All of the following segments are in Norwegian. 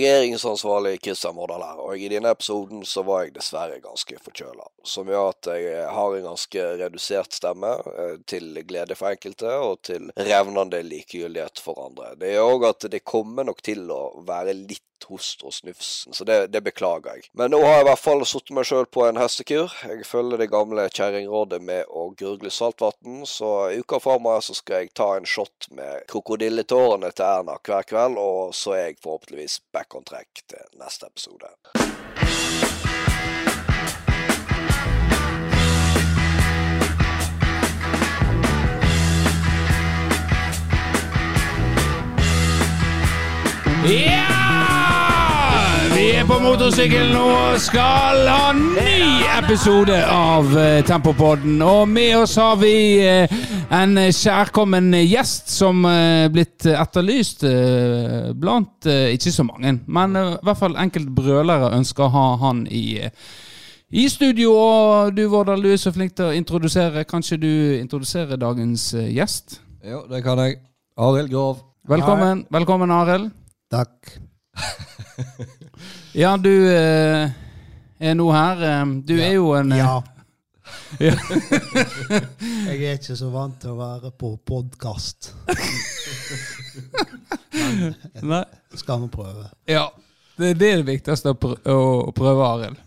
Redigeringsansvarlig Christian Mårdal her, og i denne episoden så var jeg dessverre ganske forkjøla. Som gjør at jeg har en ganske redusert stemme, eh, til glede for enkelte og til revnende likegyldighet for andre. Det gjør òg at det kommer nok til å være litt host og snufsen, så det, det beklager jeg. Men nå har jeg i hvert fall satt meg sjøl på en hestekur. Jeg følger det gamle kjerringrådet med å gurgle saltvann, så i uka framover så skal jeg ta en shot med krokodilletårene til Erna hver kveld, og så er jeg forhåpentligvis back on track til neste episode. Ja! Vi er på motorsykkelen og skal ha ny episode av eh, Tempopodden. Og med oss har vi eh, en kjærkommen gjest som er blitt etterlyst eh, blant eh, ikke så mange, men eh, i hvert fall enkelte brølere ønsker å ha han i eh, i studio, og du Vårdal, du er så flink til å introdusere. Kanskje du introduserer dagens eh, gjest? Jo, det kan jeg. Arild Grov. Velkommen, velkommen Arild. Takk. Ja, du eh, er nå her. Eh, Du er jo en eh, Ja. Ja. jeg er ikke så vant til å være på podkast. Nei. Skal vi prøve? Ja. Det, det er det viktigste å, prø å prøve, Arild.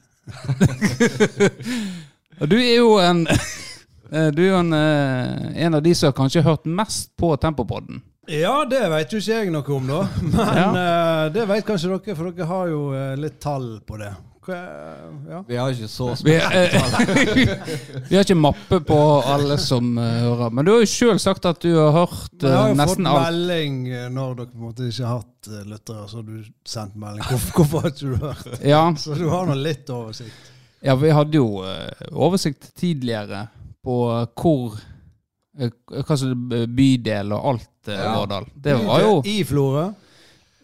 Og du er jo en eh, Du er jo en, eh, en av de som har kanskje hørt mest på Tempopodden. Ja, det veit jo ikke jeg noe om, da. Men eh, det veit kanskje dere, for dere har jo eh, litt tall på det. Hva- Ja. Vi har ikke så sp... Vi, eh, vi har ikke mappe på alle som eh, hører, men du har jo sjøl sagt at du har hørt Men Jeg eh, har jo fått nesten alt. melding eh, når dere på en måte ikke har hatt eh, lyttere, så har du sendt melding. Hvorfor, hvorfor har ikke du hørt? Ja, Så du har nå litt oversikt. ja, vi hadde jo eh, oversikt tidligere på hvor eh, Hva som er bydel og alt, eh, Ja. Vårdal. Det var jo I Florø.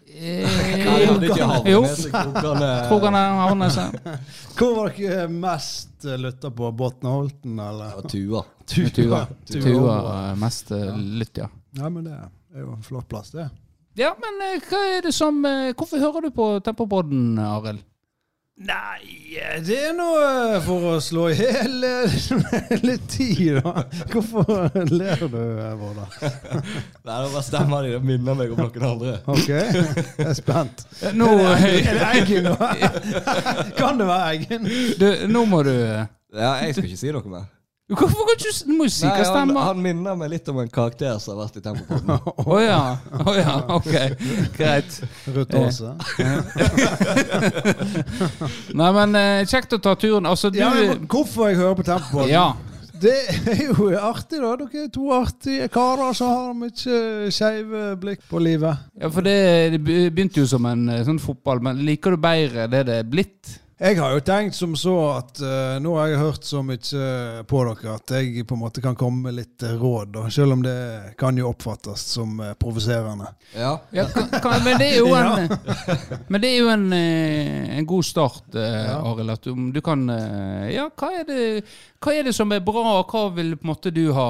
Jeg hadde ikke Jo. havnet med seg Hvor han krokene. er havnet seg. Hvor var dere mest eh, lytta på? Botnholten, eller? Det var Tua. Tuva. Tuva. Tuva eh, mest eh, lytt, ja. Ja, men det er jo en flott plass, det. Ja, men eh, hva er det som eh, Hvorfor hører du på Tempopodden, Arild? Nei, det er nå eh, for å slå i hjel eh, litt tid, da. Hvorfor ler du, eh, Vårdal? Nei, det var stemma di. Det minner meg om noen andre. Ok, jeg er spent. Eh, Nå, Er det Eggen, da? Kan det være Eggen? du, nå må du eh, Ja, jeg skal ikke si noe mer. Hvorfor kan ikke du s- Du må jo si Nei, hva han, stemmer. han minner meg litt om en karakter som har vært i Tempopodden. Å ja. Å ja. Ok, greit. Ruth Aase. Nei, men eh, kjekt å ta turen. Altså, du Ja, men hvorfor jeg hører på tempoet? Ja. Det er jo artig, da. Dere er to artige karer som har mye skeive blikk på livet. ja, for det, det begynte jo som en eh, sånn fotball, men liker du bedre det det er blitt? Jeg har jo tenkt som så at eh, nå har jeg hørt så mye eh, på dere at jeg på en måte kan komme med litt eh, råd, da, selv om det kan jo oppfattes som eh, provoserende. Ja. Ja, kan, kan, men det er jo en, men det er jo en, eh, en god start, eh, Arild. At du, du kan eh, Ja, hva er, det, hva er det som er bra, og hva vil på en måte du ha,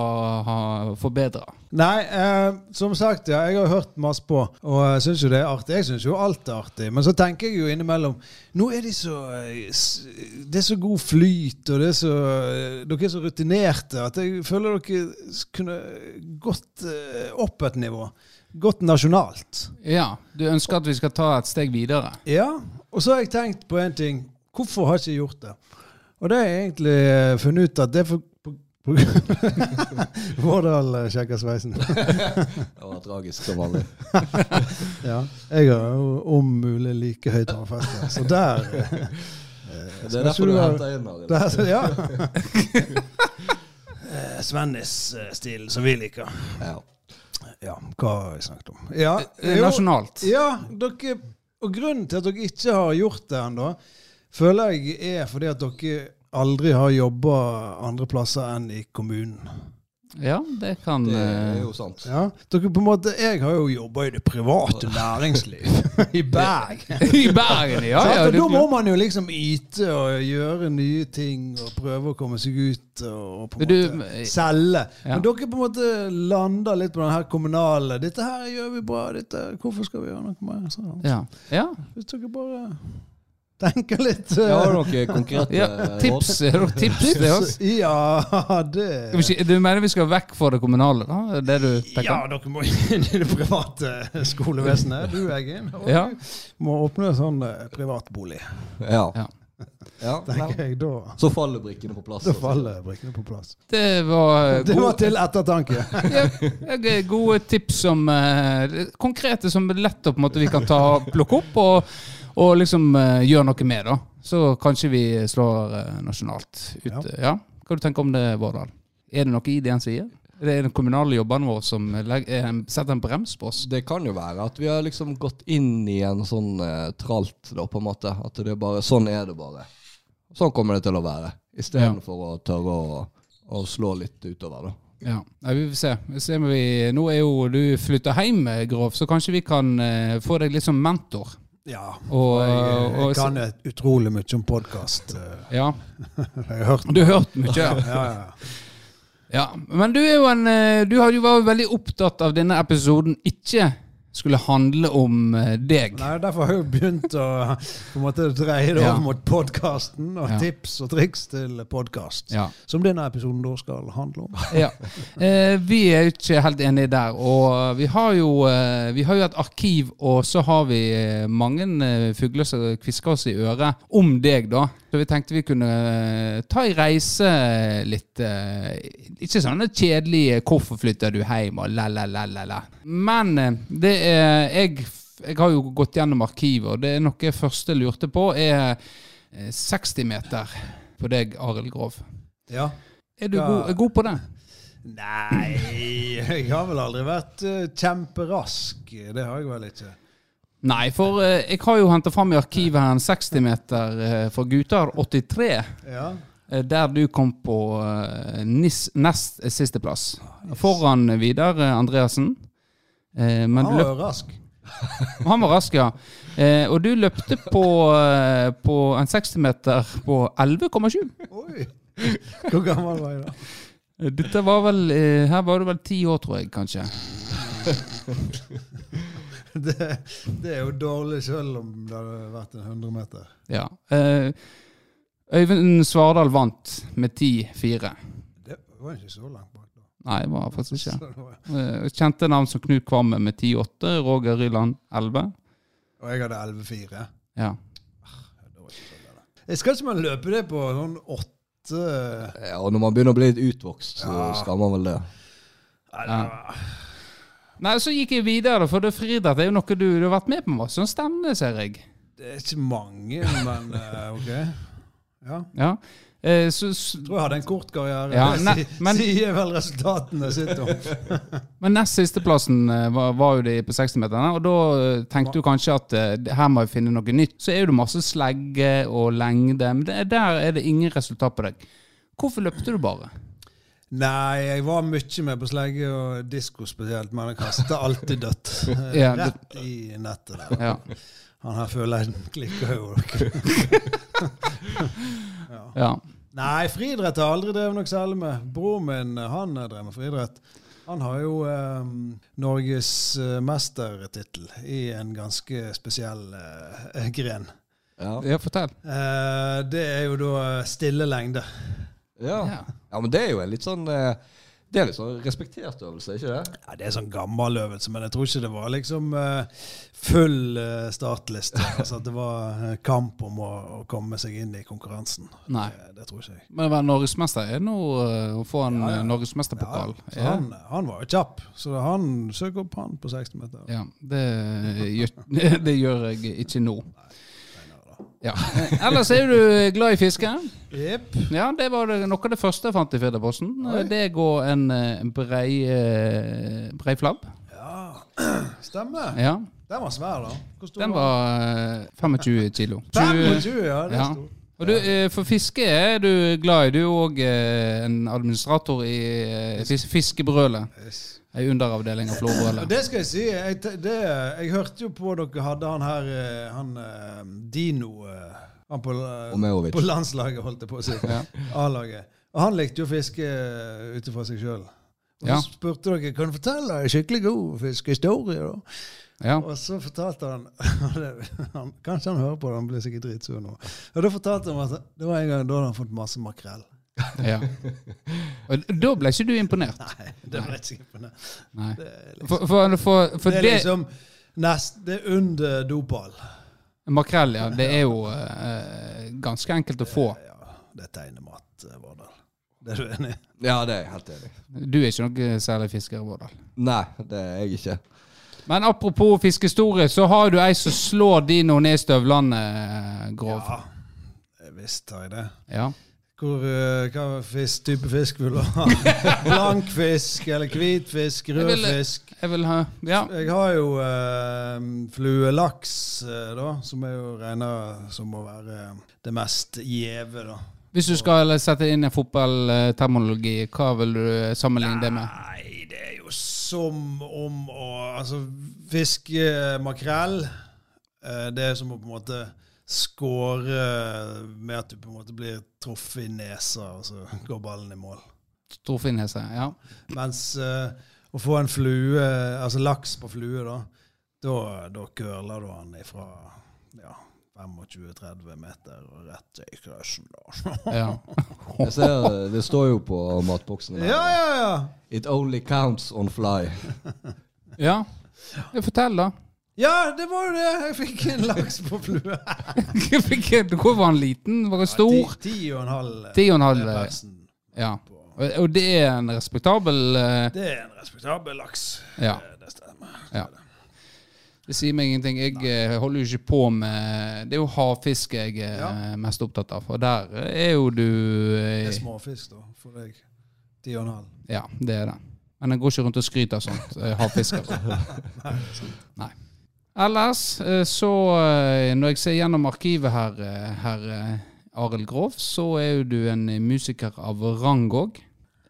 ha forbedra? Nei, eh, som sagt, ja, jeg har hørt masse på, og jeg syns jo det er artig. Jeg syns jo alt er artig, men så tenker jeg jo innimellom Nå er de så eh, s- Det er så god flyt, og det er så eh, Dere er så rutinerte at jeg føler dere s- kunne gått eh, opp et nivå. Gått nasjonalt. Ja, du ønsker at vi skal ta et steg videre? Ja, og så har jeg tenkt på en ting. Hvorfor har jeg ikke gjort det? Og det har jeg egentlig eh, funnet ut at det er for på- på- Vårdal eh, sjekker sveisen. Det var tragisk som vanlig. Ja, jeg har jo om mulig like høyt håndfeste, så der eh, skal Det er ikke derfor du være- henter inn Arild. der, Ja. Eh, Svennis-stilen som vi liker. Ja. Ja, hva har jeg snakket om? Ja, Eh, jo. Nasjonalt. Ja, dere, og grunnen til at dere ikke har gjort det ennå, føler jeg er fordi at dere aldri har jobba andre plasser enn i kommunen. Ja, det kan Det eh, er jo sant. Ja. Dere på en måte, Jeg har jo jobba i det private næringsliv i Bergen. I Bergen, ja. Sant? ja og da må du, man jo liksom yte og gjøre nye ting og prøve å komme seg ut og og på en Du- eh, måte selge. Ja. Men dere på en måte lander litt på den her kommunale 'Dette her gjør vi bra. Dette, hvorfor skal vi gjøre noe mer?' Sånn. ja. ja. Hvis dere bare tenker litt Jeg har eh, noen konkrete ja. eh, Tips, har dere tips til oss? Ja, det Skal vi si- Du mener vi skal vekk fra det kommunale, da? Det du Ja, tenker? dere må inn i det private skolevesenet. Du, Eggen. Og Ja. du Må åpne en sånn eh, privatbolig. råd? Ja. Ja. Ja, Tenker nei. jeg da. Så faller brikkene på plass. Da altså. faller brikkene på plass. Det var eh, Det god- var til ettertanke. ja, jeg er gode tips som eh, konkrete som lett og på en måte vi kan ta, plukke opp og, og liksom eh, gjøre noe med. da. Så kanskje vi slår eh, nasjonalt ut. Ja. Ja. Hva du tenker du om det, Vårdal? Er det noe i det han sier? Er det den kommunale jobbene våre som legger, eh, setter en brems på oss? Det kan jo være at vi har liksom gått inn i en sånn eh, tralt, da, på en måte. At det er bare Sånn er det bare. Sånn kommer det til å være. Istedenfor for å tørre å, å slå litt utover, da. Ja, Nei, Vi får se. Vi ser om vi, nå er jo du flytta hjem, eh, Grov, så kanskje vi kan eh, få deg litt som mentor. Ja. Og, Jeg, eh, og, jeg kan et- utrolig mye om podkast. ja. Jeg har hørt Du har hørt mye? Ja. ja, ja. Ja, men du er jo en eh, Du har jo vært veldig opptatt av denne episoden ikke skulle handle om eh, deg. Nei, Derfor har jeg jo begynt å på en måte, dreie det Ja. over mot podkasten, og Ja. tips og triks til podkast. Ja. Som denne episoden da skal handle om. ja. Eh, vi er jo ikke helt enige der. Og vi har jo, eh, vi har jo et arkiv, og så har vi eh, mange eh, fugler som kvisker oss i øret om deg, da. Så vi tenkte vi kunne eh, ta ei reise litt eh, Ikke sånne kjedelige eh, 'hvorfor flytter du hjem?' og la-la-la-la-la. Men eh, det er jeg, jeg har jo gått gjennom arkivet, og det er noe jeg først lurte på, er eh, 60 meter på deg, Arild Grov. Ja. Er du Ja. god, er god på det? Nei, jeg har vel aldri vært eh, kjemperask. Det har jeg vel ikke. Nei, for eh, jeg har jo henta fram i arkivet her en 60-meter eh, fra Gutar 83, Ja. eh, der du kom på eh, nis, nest eh, siste plass. Foran Vidar eh, Andreassen. Eh, men Han du var løp, jo rask. han var rask, ja. Eh, og du løpte på, eh, på en 60-meter på 11,7. Oi. Hvor gammel var jeg da? Dette var vel eh, Her var du vel ti år, tror jeg, kanskje. Det, det er jo dårlig selv om det hadde vært en 100 meter. Ja. Eh, Øyvind Svardal vant med 10-4. Det var ikke så langt bak. da. Nei, det var faktisk ikke. Så det var- Eh, Kjente navn som Knut Kvamme med 10-8, Roger Ryland 11. Og jeg hadde 11,4. Ja. Jeg skal ikke man løpe det på sånn åtte Eh, Ja, og når man begynner å bli litt utvokst, så Ja. skal man vel det. Nei, Ja. det var- Nei, så gikk jeg videre, for det friidrett er jo noe du, du har vært med på masse sånn stevne, ser jeg. Det er ikke mange, men eh, OK. Ja. Ja. Eh, så, s- Jeg tror jeg hadde en kort karriere. Ja, det nei, si- men- sier vel resultatene sitt om. men nest sisteplassen eh, var, var jo de på 60-meterne, og da eh, tenkte du kanskje at eh, det- her må jeg finne noe nytt. Så er jo det masse slegge og lengde, men det, der er det ingen resultat på deg. Hvorfor løpte du bare? Nei, jeg var mye med på slegge og disko spesielt, men jeg kasta alltid dødt. Eh, Ja, det- Rett i nettet der. Ja. Han her føler jeg klikker jo. dere. ja. Nei, friidrett har jeg aldri drevet noe særlig med. Broren min han eh, drev med friidrett. Han har jo eh, Norges eh, mestertittel i en ganske spesiell eh, gren. Ja. Ja, fortell. Eh, det er jo da eh, stille lengde. Ja. Ja. ja, men det er jo en litt sånn eh, Det er litt sånn respektert øvelse, ikke det? Ja, det er sånn gammel øvelse, men jeg tror ikke det var liksom eh, full eh, startliste. Altså at det var eh, kamp om å, å komme seg inn i konkurransen. Nei. Det, det tror ikke jeg. Men å være norgesmester er nå eh, å få en Ja, ja. eh, Ja, norgesmesterpokal. så han, han var jo kjapp, så han søk opp han på 60 meter. Ja, det gjør, det gjør jeg ikke nå. Ja. Ellers er jo du glad i fiske. Jepp. Ja, Det var det- noe av det første jeg fant i Oi. Firdaposten. Det går en eh, brei, eh, brei flabb. Ja, stemmer. Ja. Den var svær, da. Hvor stor Den var eh, 25 kilo. 25, ja. Det er Ja. stor. Og du, eh, for fiske er du glad i. Du er òg en administrator i eh, fis- Fiskebrølet. Yes. Ei underavdeling av Og Florbrølet. det skal jeg si. Jeg, te- det, jeg hørte jo på dere hadde han her eh, Han eh, Dino eh, Han på, eh, Omerovic. på landslaget, holdt jeg på å si. A-laget. Og han likte jo å fiske eh, ut ifra seg sjøl. Og Ja. så spurte dere kan du fortelle en skikkelig god fiskehistorie. da? Ja. Og så fortalte han, han Kanskje han hører på det, han blir sikkert dritsur nå. Og da fortalte han at det var en gang da hadde han fått masse makrell. ja. Og da ble ikke du imponert. Nei, det ble ikke imponert. Nei. Det er liksom- For, for, for, for det det, er liksom nest, Det er under dopall. Makrell, ja. Det er jo eh, ganske enkelt å få. Ja, det er tegnemat, eh, Vardal. Det er du enig i? Ja, det er jeg helt enig i. Du er ikke noe eh, særlig fisker, Vårdal. Nei, det er jeg ikke. Men apropos fiskehistorie, så har du ei som slår Dino ned i støvlene, eh, Grov. Ja, jeg visst har jeg det. Ja. Hvor, eh, hva fisk, type fisk vil du ha? Blank fisk eller hvit fisk, Jeg rød vil- fisk? Jeg vil ha Ja. Jeg har jo eh, fluelaks, eh, da, som jeg jo regner som å være det mest gjeve, da. Hvis du skal sette inn en fotballterminologi, hva vil du eh, sammenligne det med? Nei, det er jo som om å Altså, fiske makrell, eh, det er som å på en måte skåre med at du på en måte blir truffet i nesa, og så går ballen i mål. Storfinnhese? Ja. Mens eh, å få en flue, altså laks på flue, da, da, da curler du han ifra ja, 25-30 meter og rett i krøsjen, da. ja. Jeg ser, eh, Det står jo på matboksen. her. ja, ja, ja! It only counts on fly. ja. Ja, Fortell, da. Ja, det var jo det! Jeg fikk en laks på flue. Jeg fikk en- Hvor var han liten? Var han stor? Ti, ti og en halv. eh, Ti og en halv, er eh, laksen. Ja. Og og det er en respektabel eh, Det er en respektabel laks. Ja. Eh, Det stemmer. ja. Det sier meg ingenting. Jeg eh, holder jo ikke på med Det er jo havfiske jeg er Ja. eh, mest opptatt av, og der er jo du Det eh, er småfisk, da, for deg. Ti og en halv. Ja, det er det. Men jeg går ikke rundt og skryter av sånt. eh, Havfisker. Nei. Ellers eh, så eh, Når jeg ser gjennom arkivet her, eh, herr eh, Arild Grov, så er jo du en eh, musiker av rang òg.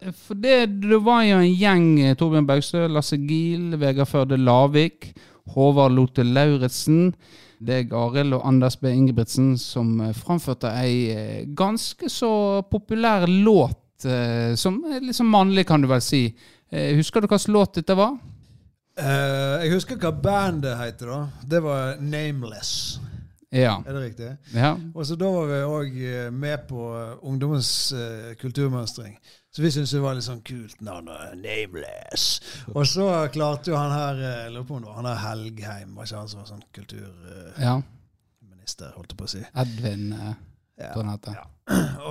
Eh, For det, det var jo en gjeng eh, Torbjørn Baugstø, Lasse Giel, Vegard Førde Lavik, Håvard Lote Lauritzen, deg Arild og Anders B. Ingebrigtsen, som eh, framførte ei eh, ganske så populær låt, eh, som er litt sånn mannlig, kan du vel si. Eh, Husker du hva slags låt dette var? Eh, jeg husker hva bandet heter, da. Det var Nameless. Ja. Er det riktig? ja. Og så Da var vi òg med på eh, ungdommens eh, kulturmønstring. Så vi syntes det var litt sånn kult navn. da, Nameless. Og så klarte jo han her eh, jeg lurer på om det var han her Helgheim, var ikke han som var sånn kulturminister, ja. holdt jeg på å si. Edvin, eh, Ja. tror han heter.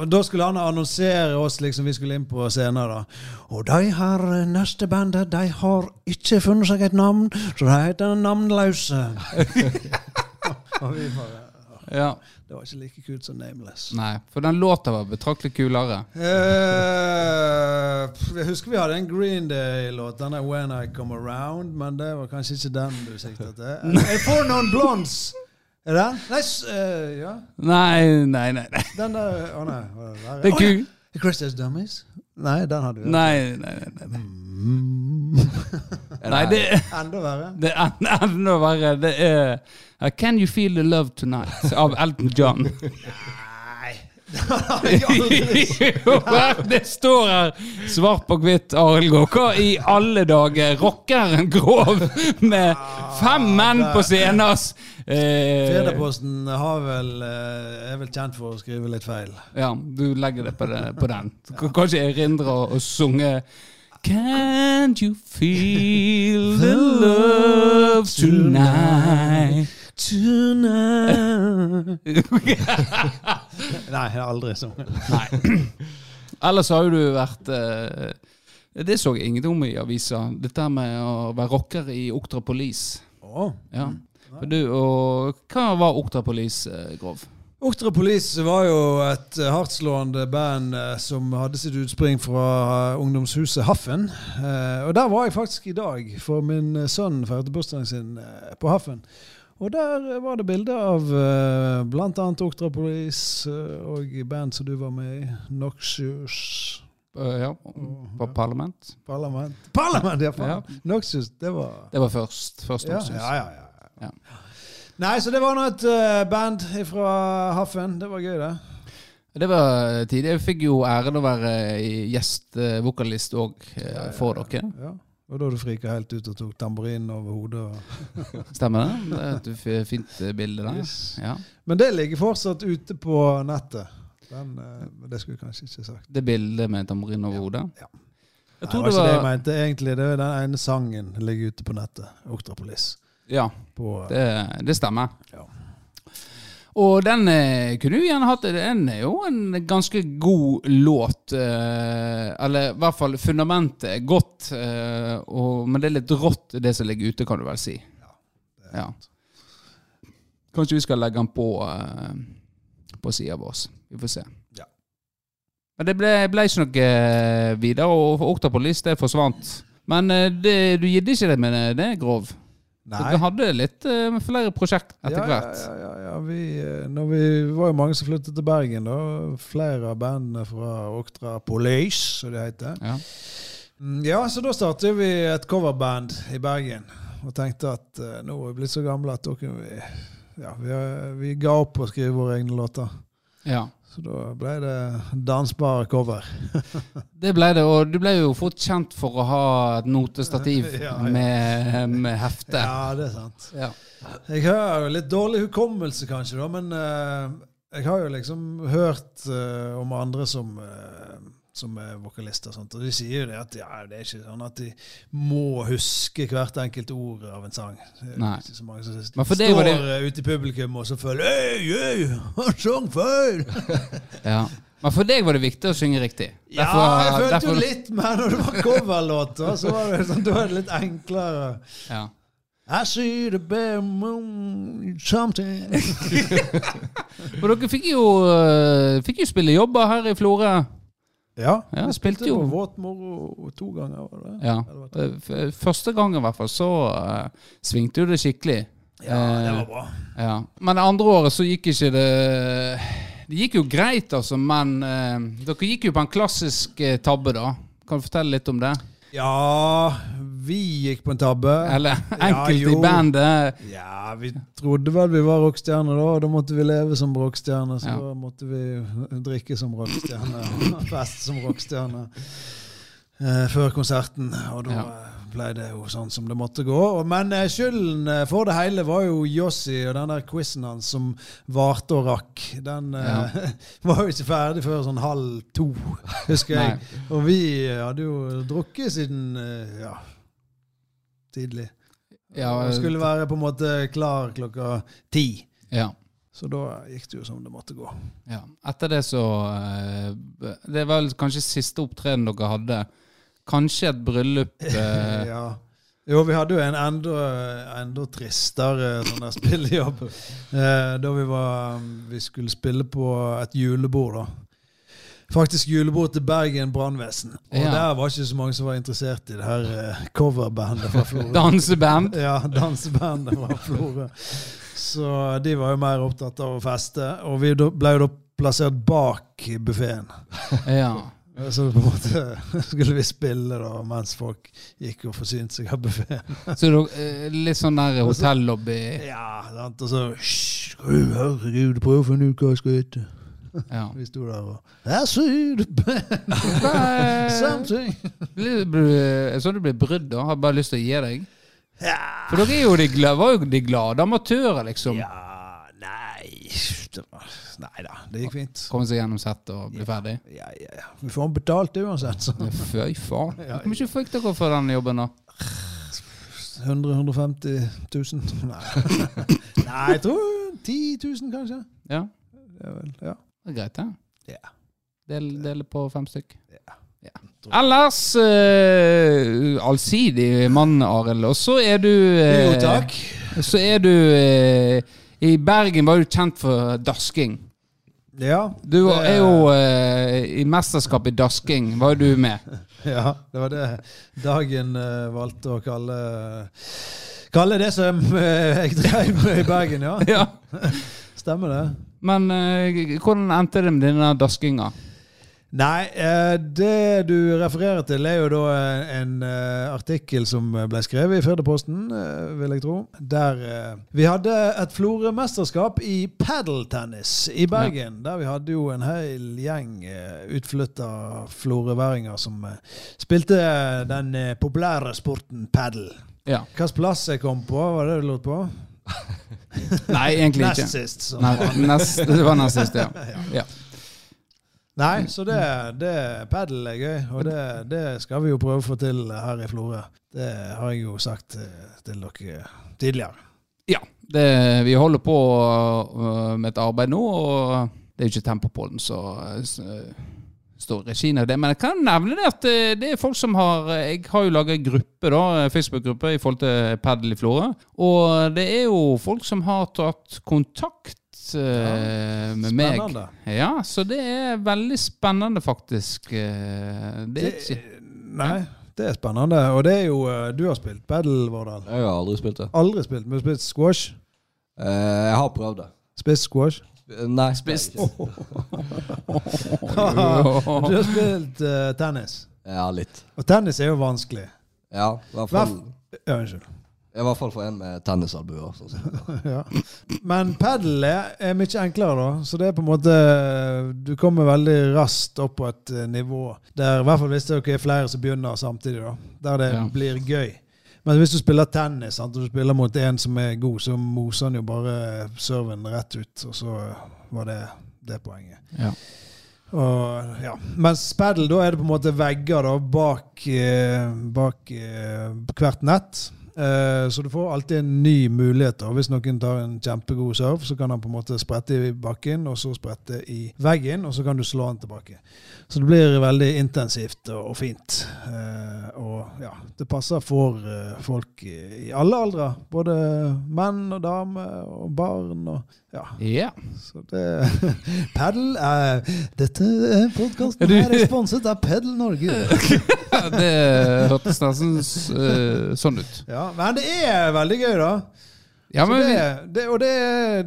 Og da skulle han annonsere oss, liksom vi skulle inn på scenen. da. Og de har eh, neste bandet, de har ikke funnet seg et navn, så de heter Navnløse. og vi bare Ja. Det var ikke like kult som Nameless. Nei, for den låta var betraktelig kulere. Eh, pff, jeg husker vi hadde en Green Day-låt, denne When I Come Around, men det var kanskje ikke den du sikta til. Jeg får noen blondes! Er det den? Nei, s- eh, ja. Nei, nei, nei. nei. Den der Å nei. hva er der? Det er Å, ja. ku... Christmas Dummies? Nei, den hadde vi. Nei, nei, nei. nei. Mm. Er nei det, Enda verre. det er en- enda verre. Det er uh, Can You Feel The Love Tonight av Elton John. Nei. Jeg aldri- Jo, det står her svart på hvitt, Arild Gaa. Hva i alle dager rockeren Grov med fem menn på scenen? ass. Eh, Federposten har vel, eh, er vel kjent for å skrive litt feil. ja, du legger det på, det, på den. Du kan kanskje erindre å synge Can't you feel the love tonight? Tonight Nei, jeg har aldri sunget. Nei. Ellers har jo du vært eh, Det så jeg ingenting om i avisa. Dette her med å være rocker i Oktra Police. Å. Ja. Og du, og hva var Oktra Police, eh, Grov? Oktra Police var jo et eh, hardtslående band eh, som hadde sitt utspring fra eh, ungdomshuset Haffen. Eh, Og der var jeg faktisk i dag, for min eh, sønn feirte bursdagen sin eh, på Haffen. Og der eh, var det bilder av eh, blant annet Oktra Police eh, og band som du var med i, Noxious Eh, ja, Mhm. på Parlament. Parlament. Parlament, ja! Ja. faen. Noxious, det var Det var først. først ja, Noxus. ja, ja, ja. Ja. Nei, så det var nå et eh, band fra Haffen. Det var gøy, det. Det var tidlig. Jeg fikk jo æren å være eh, gjestvokalist òg eh, for dere. Ja. Og da du frika helt ut og tok tamburinen over hodet. Og... Stemmer det? Det er et f- fint eh, bilde der. Yes. Ja. Men det ligger fortsatt ute på nettet. Den, eh, men det skulle jeg kanskje ikke sagt. Det bildet med tamburin over hodet. Ja. Jeg Nei, tror det det var ikke det jeg var mente, egentlig. Det er den ene sangen ligger ute på nettet. Oktrapolis. Ja, På, eh, det, det stemmer. Ja. Og den eh, kunne du gjerne hatt. Den er jo en ganske god låt. Eh, eller i hvert fall fundamentet er godt, eh, og, men det er litt rått det som ligger ute, kan du vel si. Ja. Kanskje vi skal legge den på, eh, på sida vår. Vi får se. Ja. Men det ble, ble ikke noe eh, videre, og Oktapolis det forsvant. Men eh, det, du gidde ikke det med det, det Grov? Nei. Dere hadde litt eh, flere prosjekt etter Ja, hvert. Ja, ja, ja, ja. Vi, eh, når vi, vi var jo mange som flyttet til Bergen, da. Flere av bandene fra Oktra Police, som det heter. Ja. Mm, Ja, så da startet vi et coverband i Bergen. Og tenkte at eh, nå er vi blitt så gamle at da kunne vi Ja, vi, eh, vi ga opp å skrive våre egne låter. Ja. Så da ble det dansbare cover. Det ble det, og du ble jo fort kjent for å ha et notestativ Ja, ja. Med, med hefte. Ja. Ja, det er sant. Jeg har jo litt dårlig hukommelse, kanskje, da, men eh, jeg har jo liksom hørt eh, om andre som, eh, som er vokalister og sånt, og de sier jo det at ja, det er ikke sånn at de må huske hvert enkelt ord av en sang. Det er Nei. ikke så mange som Men for står det var det- eh, ute i publikum og så føler Øy, øy, han sang feil! Ja. Men for deg var det viktig å synge riktig. Ja, jeg følte jo litt mer når det var coverlåter, så var det, sånn, da er det litt enklere. Ja. I see the bare moon something Og dere fikk jo, eh, fikk jo spille jobber her i Florø. Ja, Ja, jeg spilte spilte jo. på Våt moro to ganger. Var det? det? Ja. var Eh, f- Første gangen i hvert fall, så eh, svingte jo det skikkelig. Ja, det Eh, var bra. ja. Men det andre året så gikk ikke det Det gikk jo greit, altså, men eh, dere gikk jo på en klassisk eh, tabbe, da. Kan du fortelle litt om det? Ja, vi gikk på en tabbe. Eller enkelte jo. i bandet. Ja, vi trodde vel vi var rockstjerner da, og da måtte vi leve som rockstjerner. Så Ja. da måtte vi drikke som rockstjerner, og feste som rockstjerner eh, før konserten. Og da Ja. eh, ble det jo sånn som det måtte gå. Og- Men eh, skylden eh, for det hele var jo Jossi og den der quizen hans som varte og rakk. Den eh, var jo ikke ferdig før sånn halv to, husker jeg. Og vi eh, hadde jo drukket siden eh, ja, tidlig. Ja, Og skulle være på en måte klar klokka ti. ja, Så da gikk det jo som det måtte gå. ja. Etter det så eh, Det var vel kanskje siste opptreden dere hadde. Kanskje et bryllup eh, Ja. Jo, vi hadde jo en enda, enda tristere sånn der spillejobb eh, da vi var Vi skulle spille på et julebord, da. Faktisk julebord til Bergen brannvesen. Og Ja. der var ikke så mange som var interessert i det her eh, coverbandet fra Florø. danseband. Ja, dansebandet fra Florø. Så de var jo mer opptatt av å feste, og vi da- ble jo da plassert bak i buffeen. Ja. Så på en måte skulle vi spille da, mens folk gikk og forsynte seg av buffeen. Så dere, eh, litt sånn der hotellobby. Ja, sant? og så «Hysj, Skal du herregud, prøv å finne ut hva jeg skal hete. Ja. Vi sto der og Her ser du band, something. eh, Blir- blir- Sånn du blir brydd da. Har bare lyst til å gi deg. Ja. For dere er jo de glade, var jo de glade amatører, liksom. ja, nei det var- Nei da, det gikk fint. Komme seg gjennom settet og bli ferdig. Ja, ja, ja. Vi får betalt uansett, så. Fy faen. Hvor mye fikk dere for den jobben, da? 100 150 000? Nei. Nei, jeg tror 10 000, kanskje. Ja, Det er vel, ja. det er greit, det. Ja. Eh, Del, del på fem stykk. Ja. Ja. Ellers eh, allsidig mann, Arild. Og så er du eh, Jo, takk. Så er du eh, I Bergen var du kjent for dasking. Ja. Du det- er jo eh, i mesterskap i dasking, var jo du med. Ja, det var det dagen eh, valgte å kalle Kalle det som eh, jeg drev med i Bergen, ja. Ja. Stemmer det. Men eh, hvordan endte det med denne daskinga? Nei, eh, det du refererer til er jo da eh, en eh, artikkel som ble skrevet i Firdaposten, eh, vil jeg tro. Der eh, vi hadde et Florø-mesterskap i padeltennis i Bergen. Der vi hadde jo en hel gjeng eh, utflytta florøværinger som eh, spilte den eh, populære sporten padel. Ja. Hvilken plass jeg kom på, var det du lurte på? Nei, egentlig Nest ikke. sist. så. Nei, nest, det var nest sist, ja. ja. Nei, så det, det padel er gøy, og det, det skal vi jo prøve å få til her i Florø. Det har jeg jo sagt eh, til dere tidligere. Ja. Det, vi holder på øh, med et arbeid nå, og det er jo ikke tempo på den, så øh, s- øh, står regien av det. Men jeg kan nevne det at øh, det er folk som har Jeg har jo laga gruppe, da, Facebook-gruppe i forhold til padel i Florø. Og det er jo folk som har tatt kontakt øh, med meg. spennende. Ja, så det er veldig spennende, faktisk. Eh, Det er ikke Nei, det er spennende. Og det er jo eh, Du har spilt padel, Vårdal. Jeg har aldri spilt det. Aldri spilt, men du har spilt squash. Eh, jeg har prøvd det. Spilt squash. Eh, Nei, Spist. jeg har ikke. Du har spilt eh, tennis. Ja, litt. Og tennis er jo vanskelig. Ja, i hvert Hva fall, f ja, unnskyld. i hvert fall for en med tennisalbuer. Sånn. sett. Ja. Men padel er, er mye enklere, da. Så det er på en måte Du kommer veldig raskt opp på et eh, nivå der i hvert fall hvis det er flere som begynner samtidig, da. Der det Ja. blir gøy. Men hvis du spiller tennis sant, og du spiller mot en som er god, så moser han jo bare serven rett ut. Og så var det det poenget. Ja. Og, ja. Mens padel, da er det på en måte vegger da, bak, eh, bak eh, hvert nett. Eh, så du får alltid en ny mulighet. da. Hvis noen tar en kjempegod serve, så kan han på en måte sprette i bakken, og så sprette i veggen, og så kan du slå han tilbake. Så det blir veldig intensivt og, og fint. Eh, og ja, det passer for eh, folk i, i alle aldre. Både menn og damer og barn og ja. Ja. Så det Paddle er Dette podkasten Du- er sponset av Paddle Norge. Det hørtes nesten s- øh, sånn ut. Ja, men det er veldig gøy, da. Ja, Så men vi, det, det, og det,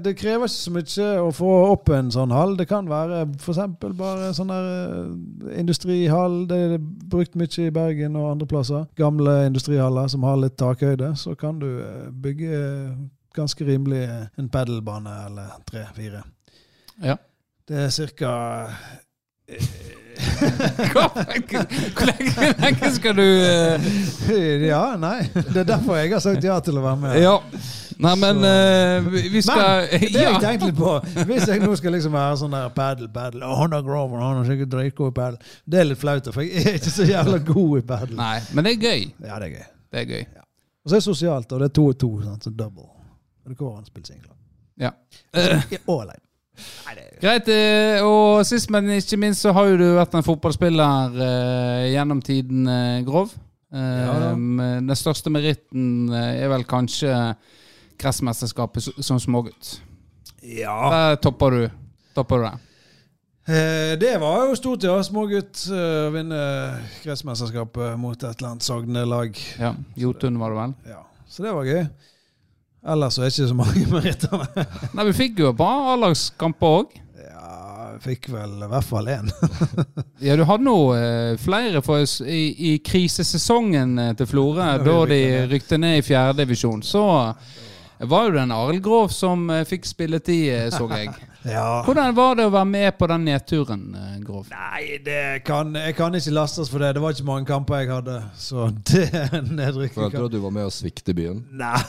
det krever ikke så mye å få opp en sånn hall. Det kan være f.eks. bare sånn der eh, industrihall. Det er brukt mye i Bergen og andre plasser. Gamle industrihaller som har litt takhøyde. Så kan du eh, bygge ganske rimelig eh, en padelbane eller tre-fire. ja. Det er ca. Hvor hvor lenge, hvor lenge skal du eh, Ja, nei. Det er derfor jeg har sagt ja til å være med. Ja. Nei, men eh, vi- vi skal Men det har jeg ja. tenkt litt på. Hvis jeg nå skal liksom være sånn der padel, padel Å, han er grover, han er sikkert dritgod i padel. Det er litt flaut, for jeg er ikke så jævla god i padel. Nei, men det er gøy. Ja, det er gøy. Det er gøy. Og så er det sosialt, og det er to og to, sant, så double. Og det går an å spille singler. Ja. Eh. Ja, Og alene. Nei, det er Greit. eh, Og sist, men ikke minst, så har jo du vært en fotballspiller eh, gjennom tiden, eh, Grov. Eh, Ja da. Den største meritten eh, er vel kanskje kretsmesterskapet s- som smågutt. Ja. Der topper du. Topper du det. Eh, Det var jo stort, ja. Smågutt eh, å vinne kretsmesterskapet mot et eller annet Sogne-lag. Ja. Jotun, var det vel? Ja. Så det var gøy. Ellers så er det ikke så mange meritter. nei. Nei, vi fikk jo et bra A-lagskamper òg. Ja, jeg fikk vel i hvert fall én. Ja, du hadde nå eh, flere for oss i, i krisesesongen eh, til Florø, da de rykte ned i fjerdedivisjon. Så eh, var jo det en Arild Grov som eh, fikk spilletid, eh, så jeg. Ja. Hvordan var det å være med på den nedturen, eh, Grov? Nei, det kan, jeg kan ikke lastes for det. Det var ikke mange kamper jeg hadde, så det nedrykket Følte du kan at du var med å svikte byen? Nei.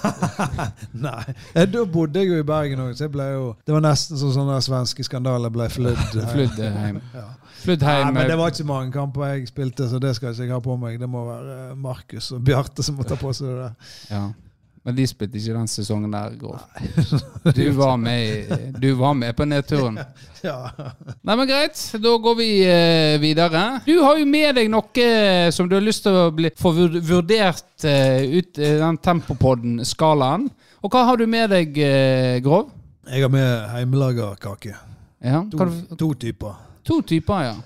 Nei. Eh, Da bodde jeg jo i Bergen òg, så jeg ble jo Det var nesten som sånn der svenske skandaler ble flydd. Fludheim. Ja. Nei, Fludheim. men det eh, var ikke mange kamper jeg spilte, så det skal ikke jeg ha på meg. Det må være eh, Markus og Bjarte som må ta på seg det der. ja. Men de spilte ikke den sesongen der, Grov. Du var med, i- du var med på nedturen. Ja. Nei, men greit. Da går vi eh, videre. Du har jo med deg noe eh, som du har lyst til å bli, få vur- vurdert eh, ut i den Tempopodden-skalaen. Og hva har du med deg, eh, Grov? Jeg har med hjemmelaga kake. Ja, To, kan du, to typer. to typer, ja.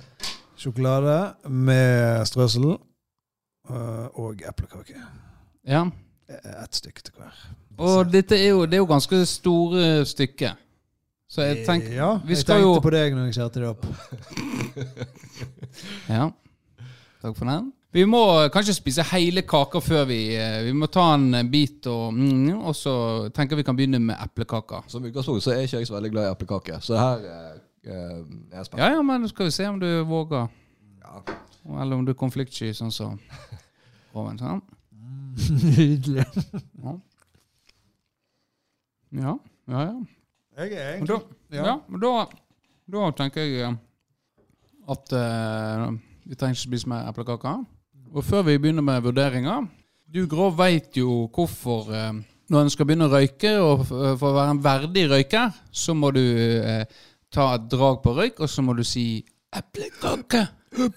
Sjokolade med strøssel eh, og eplekake. ja. ett stykke til hver. Og dette er jo, det er jo ganske store stykker. Så jeg tenker ja, Vi jeg skal tenkte jo på deg når jeg skjærte det opp. Ja. Takk for den. Vi må eh, kanskje spise hele kaka før vi eh, Vi må ta en eh, bit, og, mm, og så tenker vi kan begynne med eplekaka. Som utgangspunkt så er ikke jeg så veldig glad i eplekake, så her eh, eh, er jeg spent. Ja, ja, men skal vi se om du våger. Ja. Eller om du er konfliktsky, sånn som Oven. Sånn. Nydelig. Ja, ja, ja. Jeg er Men da, egentlig ja. men da, da tenker jeg eh, at eh, vi trenger ikke spise mer eplekaker. Og før vi begynner med vurderinger Du Grov veit jo hvorfor eh, når en skal begynne å røyke, og f- eh, for å være en verdig røyker, så må du eh, ta et drag på røyk, og så må du si 'eplekake'. Ja,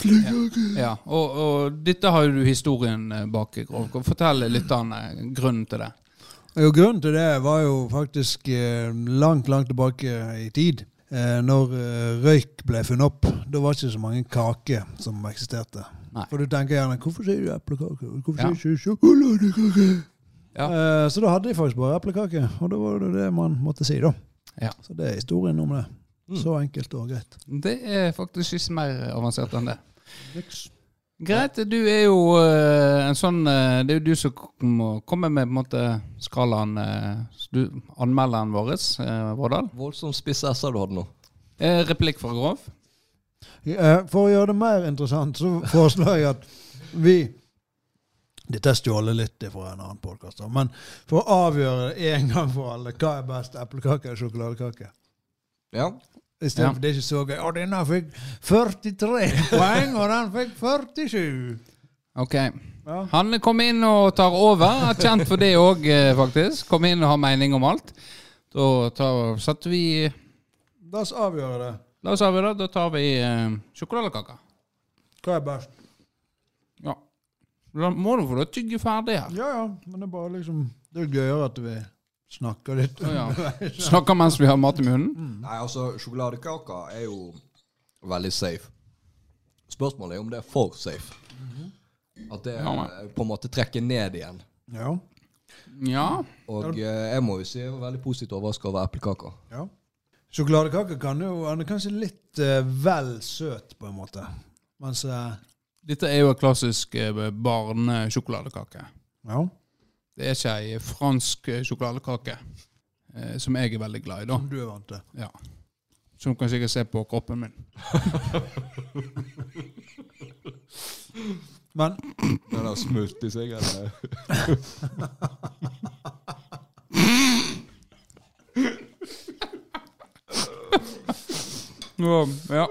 ja. Og, og dette har jo du historien eh, bak, Grov. Fortell lytterne eh, grunnen til det. Jo, grunnen til det var jo faktisk eh, langt, langt tilbake i tid. Eh, når eh, røyk ble funnet opp, da var det ikke så mange kaker som eksisterte. Nei. For du tenker gjerne 'hvorfor sier du eplekake'? Hvorfor Ja. sier du ikke sjokoladekake? Ja. Eh, så da hadde de faktisk bare eplekake, og da var det det man måtte si, da. Ja. Mm. Så det er historien om det. Så enkelt og greit. Det er faktisk ikke mer avansert enn det. Greit, du er jo eh, en sånn eh, Det er jo du som k- må komme med på en måte skalaen eh, s- du, Anmelderen vår, eh, Vårdal. Voldsomt spiss S-er du hadde nå. Eh, replikk fra Grov. Eh, for å gjøre det mer interessant, så foreslår jeg at vi Dette er stjålet litt fra en annen podkast, men for å avgjøre det en gang for alle hva er best, eplekake eller sjokoladekake? Ja. I stedet Ja. for det er ikke så gøy. Å, denne fikk 43 poeng, og den fikk 47! Ok. Ja. Han kom inn og tar over. Er kjent for det òg, eh, faktisk. Kom inn og har mening om alt. Da tar, setter vi La oss avgjøre det. La oss avgjøre, da tar vi eh, sjokoladekake. Hva er best? Ja. Da må du få lov til å tygge ferdig her. Ja ja, men det er bare liksom Det er gøyere at vi snakker litt. Å, ja. Snakker mens vi har mat i munnen. Nei, altså, sjokoladekaka er jo veldig safe. Spørsmålet er om det er for safe. At det Mhm. Ja, men- eh, på en måte trekker ned igjen. Ja. Ja. Og eh, jeg må jo si jeg var veldig positivt overrasket over eplekaka. ja. Sjokoladekake kan jo Han er kanskje litt eh, vel søt, på en måte. Mens eh, Dette er jo en klassisk eh, barnesjokoladekake. Ja. Det er ikke ei fransk eh, sjokoladekake, eh, som jeg er veldig glad i, da. Som du er vant til. Ja. Som du kan sikkert se på kroppen min. Men Den har smurt i seg, eller? Ja.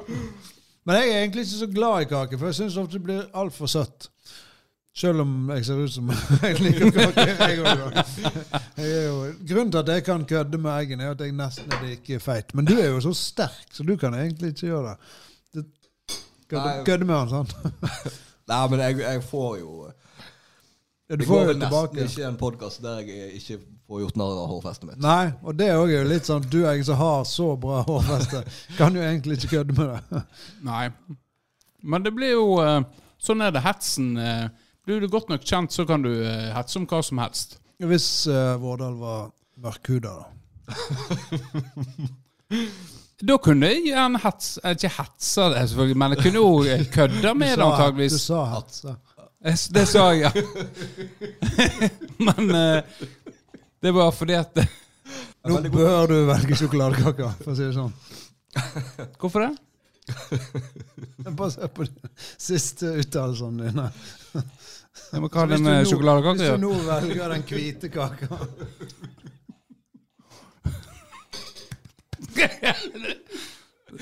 Men jeg er egentlig ikke så glad i kake, for jeg syns ofte det blir altfor søtt. Selv om jeg ser ut som jeg liker kake. Jeg også, da. jeg er jo, grunnen til at jeg kan kødde med eggene, er at jeg nesten er like feit. Men du er jo så sterk, så du kan egentlig ikke gjøre det. Du kødde, Nei. kødde med han, sant? Nei, men jeg, jeg får jo eh, Ja, du Det får går jo vel nesten tilbake. ikke en podkast der jeg ikke får gjort narr av hårfestet mitt. Nei, og det er også jo litt sånn Du og jeg som har så bra hårfeste, kan jo egentlig ikke kødde med det. Nei. Men det blir jo eh, Sånn er det. Hetsen eh, Blir du godt nok kjent, så kan du eh, hetse om hva som helst. Hvis eh, Vårdal var mørkhuda, da. Da kunne jeg gjerne hetse eh, Ikke hetse det, selvfølgelig, men jeg kunne jo eh, kødde med det, sa- antageligvis. Du sa hetse. Jeg s- Det sa jeg, ja. Men eh, det var fordi at eh, Nå bør du velge sjokoladekake, for å si det sånn. Hvorfor det? Bare se på de siste uttalelsene dine. Jeg må ikke ha Altså, den Hvis du nå- sjokoladekaka. Hvis du nå velger den hvite kaka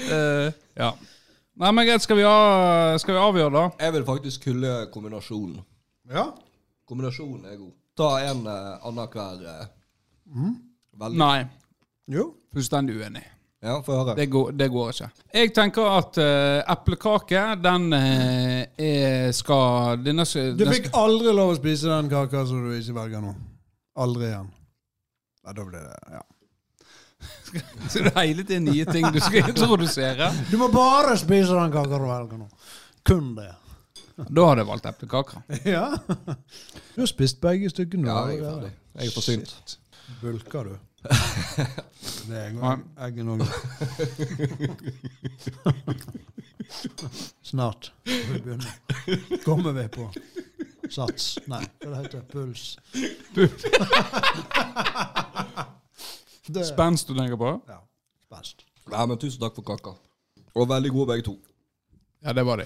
Eh, ja. Nei, men greit, skal vi, ha, skal vi avgjøre, da? Jeg vil faktisk hylle kombinasjonen. Ja. Kombinasjonen er god. Ta en uh, annenhver eh, veldig Nei. Jo. Fullstendig uenig. Ja, få høre. Det går, det går ikke. Jeg tenker at eh, eplekake, den eh, er skal Denne skal Du fikk aldri lov å spise den kaka som du ikke velger nå. Aldri igjen. Ja, da blir det ja. Så det er hele tiden nye ting du skal introdusere. Du må bare spise den kaka du velger nå. Kun det. Da hadde jeg valgt eplekaker. ja. Du har spist begge stykkene. Ja, du, jeg er eller? ferdig. Jeg er forsynt. Shit. Bulker du? Det er en Ja. gang eggen òg. Snart. Vi begynner. Kommer vi på sats? Nei, hva det heter puls? Det Spenst du tenker på? ja, spenst. Nei, men tusen takk for kaka. Og veldig gode begge to. Ja, det var det.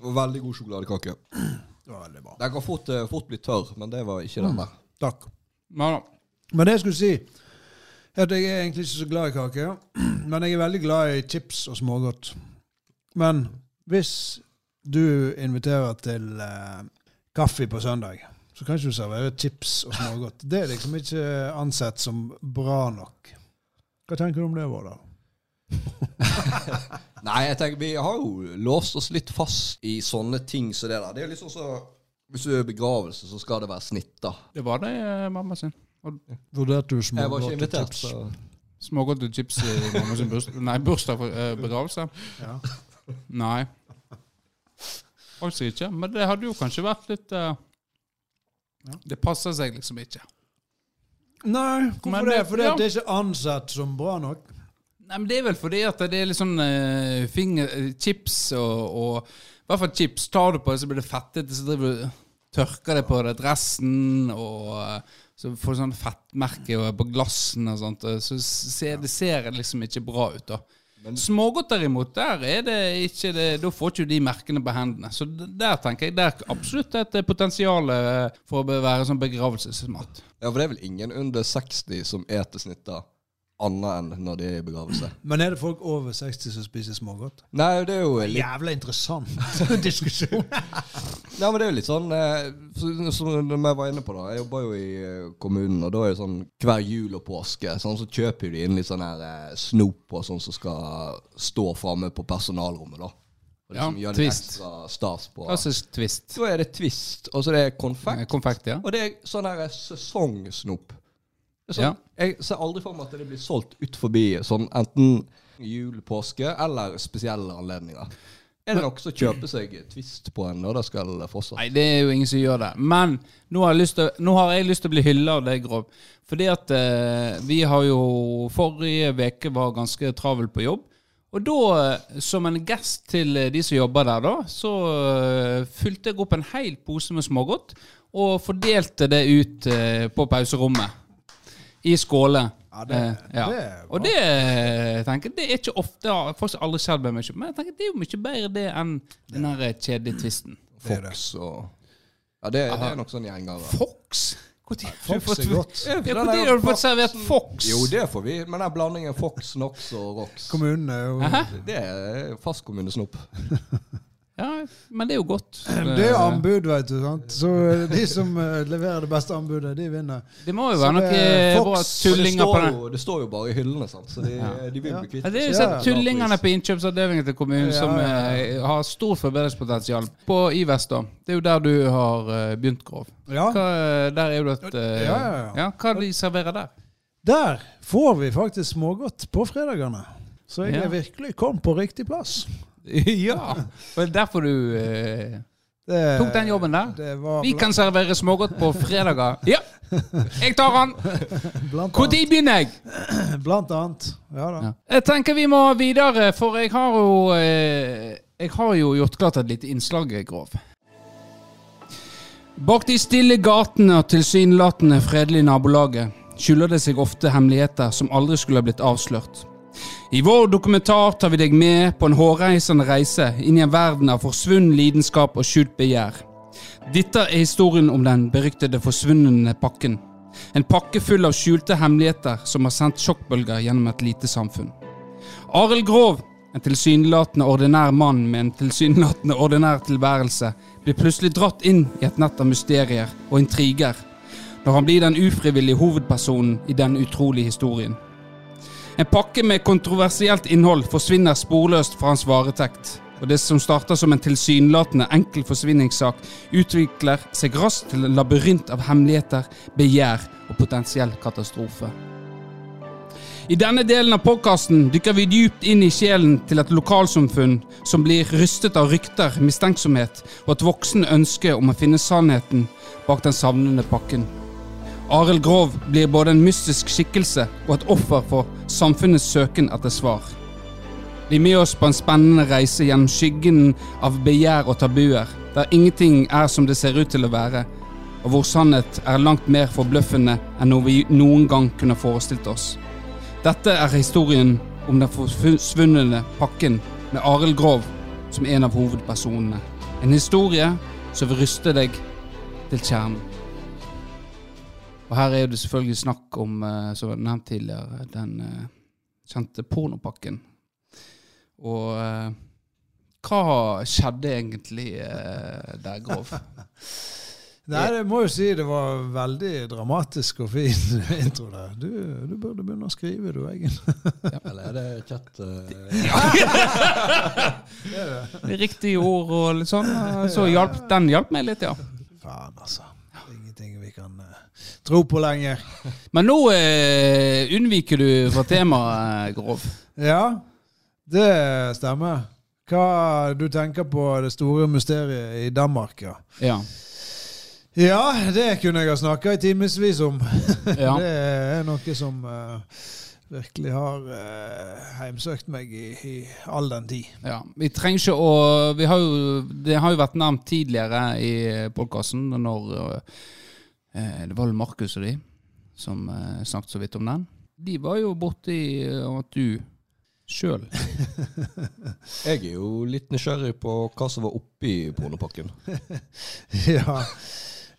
Og veldig god sjokoladekake. Det var veldig bra. Den kan fort, eh, fort bli tørr, men det var ikke den der. Takk. Ja, da. Men det jeg skulle si, er at jeg er egentlig ikke så glad i kake. Men jeg er veldig glad i chips og smågodt. Men hvis du inviterer til eh, kaffe på søndag, så kan ikke du servere chips og smågodt. Det er liksom ikke ansett som bra nok. Hva tenker du om det, Vårdal? Nei, jeg tenker, vi har jo låst oss litt fast i sånne ting som det der. Det er jo litt sånn så Hvis du er i begravelse, så skal det være snitt, da. Det var det, eh, mamma sin. Og Vurderte du Jeg smågodt var ikke og invitert, chips? så smågodt og chips i mamma sin bursdag. Nei, bursdag for eh, begravelse. Ja. Nei. Faktisk ikke. Men det hadde jo kanskje vært litt eh, Det passer seg liksom ikke. Nei, hvorfor Men det? det- Fordi ja. at det er ikke ansett som bra nok? Nei, men Det er vel fordi at det er litt sånn eh, finger, eh, chips og, og I hvert fall chips. Tar du på det, så blir det fettete. Så driver du tørker det på det, dressen, og eh, så får du sånn fettmerke og på glassene og sånt. og Så ser det ser liksom ikke bra ut, da. Smågodt derimot, der er det ikke det, da får ikke du de merkene på hendene. Så d- der tenker jeg det er absolutt et eh, potensial eh, for å be- være sånn begravelsesmat. Ja, for det er vel ingen under 60 som eter snitter annet enn når de er i begravelse. Men er det folk over 60 som spiser smågodt? Nei, det er jo litt Jævla interessant diskusjon. Nei, men det er jo litt sånn eh, så- Som jeg var inne på, da. Jeg jobber jo i eh, kommunen, og da er det sånn hver jul og påske sånn, så kjøper de inn litt sånn her eh, snop og sånn som skal stå framme på personalrommet, da. Og liksom Ja, gjør litt twist. ekstra stas på. Klassisk twist. så er det twist, og så er det Eh, konfekt, Konfekt, ja. og det er sånn her sesongsnop. Det er Sånn, Ja. Jeg ser aldri for meg at det blir solgt ut forbi sånn enten jul, påske eller spesielle anledninger. Er det nok som kjøper seg twist på en lørdagskveld fortsatt? Nei, det er jo ingen som gjør det. Men nå har jeg lyst til, nå har jeg lyst til å bli hylla av deg, Grov. Fordi at eh, vi har jo Forrige uke var ganske travel på jobb. Og da, eh, som en gest til eh, de som jobber der, da, så eh, fylte jeg opp en hel pose med smågodt. Og fordelte det ut eh, på pauserommet. I skåler. Ja, det- Eh, ja. det er bra. og det eh, tenker jeg, det er ikke ofte, det har faktisk aldri skjedd med meg selv, men jeg tenker det er jo mye bedre det enn den her eh, kjedelige tvisten. Det er det. Fox og Ja, det, det er nok sånn gjengere. Fox? Når har du Fox er fått- godt. Ja, hvor tid har du fått servert Fox? Jo, det får vi. Men den blandingen Fox, Nox og Rox, Kommunen er jo det er fastkommunesnop. Ja, men det er jo godt. Eh, Det er jo anbud, vet du. sant? Så eh, de som eh, leverer det beste anbudet, de vinner. Det må jo Så være det er noe eh, bra Fox, Men Det tullinger på står, den. jo, det står jo bare i hyllene, sant? så de, de vil bli kvitt Ja, det er jo Ja, sånn ja. tullingene på innkjøpsavdelingen til kommunen Ja, som ja, eh, har stor forbedringspotensial. På Ivest, da. Det er jo der du har eh, begynt, Grov. Ja. Hva, eh, der er jo et eh, Ja, ja, ja. Hva de serverer der? Der får vi faktisk smågodt på fredagene. Så jeg Ja. er virkelig kom på riktig plass. ja! Og det er derfor du eh, Det- tok den jobben der? Eh, Det var Vi kan servere smågodt på fredager. Ja! Jeg tar den! blant, blant, Når begynner jeg? annet, blant annet. Ja da. Ja. Jeg tenker vi må videre, for jeg har jo eh, Jeg har jo gjort klart et lite innslag, Grov. Bak de stille gatene og tilsynelatende fredelige nabolaget skjuler det seg ofte hemmeligheter som aldri skulle ha blitt avslørt. I vår dokumentar tar vi deg med på en hårreisende reise inn i en verden av forsvunnen lidenskap og skjult begjær. Dette er historien om den beryktede forsvunne pakken. En pakke full av skjulte hemmeligheter som har sendt sjokkbølger gjennom et lite samfunn. Arild Grov, en tilsynelatende ordinær mann med en tilsynelatende ordinær tilværelse, blir plutselig dratt inn i et nett av mysterier og intriger når han blir den ufrivillige hovedpersonen i denne utrolige historien. En pakke med kontroversielt innhold forsvinner sporløst fra hans varetekt. Og det som starter som en tilsynelatende enkel forsvinningssak, utvikler seg raskt til en labyrint av hemmeligheter, begjær og potensiell katastrofe. I denne delen av podkasten dykker vi dypt inn i sjelen til et lokalsamfunn som blir rystet av rykter, mistenksomhet og et voksende ønske om å finne sannheten bak den savnede pakken. Arild Grov blir både en mystisk skikkelse og et offer for samfunnets søken etter svar. Bli med oss på en spennende reise gjennom skyggen av begjær og tabuer, der ingenting er som det ser ut til å være, og hvor sannhet er langt mer forbløffende enn noe vi noen gang kunne forestilt oss. Dette er historien om den forsvunne pakken med Arild Grov som en av hovedpersonene. En historie som vil ryste deg til kjernen. Og her er det selvfølgelig snakk om, eh, som jeg nevnte tidligere, den eh, kjente pornopakken. Og eh, hva skjedde egentlig eh, der, Grov? Nei, jeg må jo si det var veldig dramatisk og fin intro der. Du, du burde begynne å skrive, du, Eggen. Eller er det chat eh, Riktige ord og litt sånn. eh, Så hjalp, den hjalp meg litt, ja. Faen, altså. Ingenting vi kan eh, tro på lenger. Men nå eh, unnviker du fra temaet, eh, Grov. Ja, det stemmer. Hva du tenker på det store mysteriet i Danmark, ja. Ja. Ja, det kunne jeg ha snakka i timevis om. ja. Det er noe som eh, virkelig har eh, heimsøkt meg i, i all den tid. ja. Vi trenger ikke å vi har jo, Det har jo vært nevnt tidligere i podkasten når eh, Det var vel Markus og de som eh, snakket så vidt om den. De var jo borti eh, at du sjøl Jeg er jo litt nysgjerrig på hva som var oppi pornopakken. ja.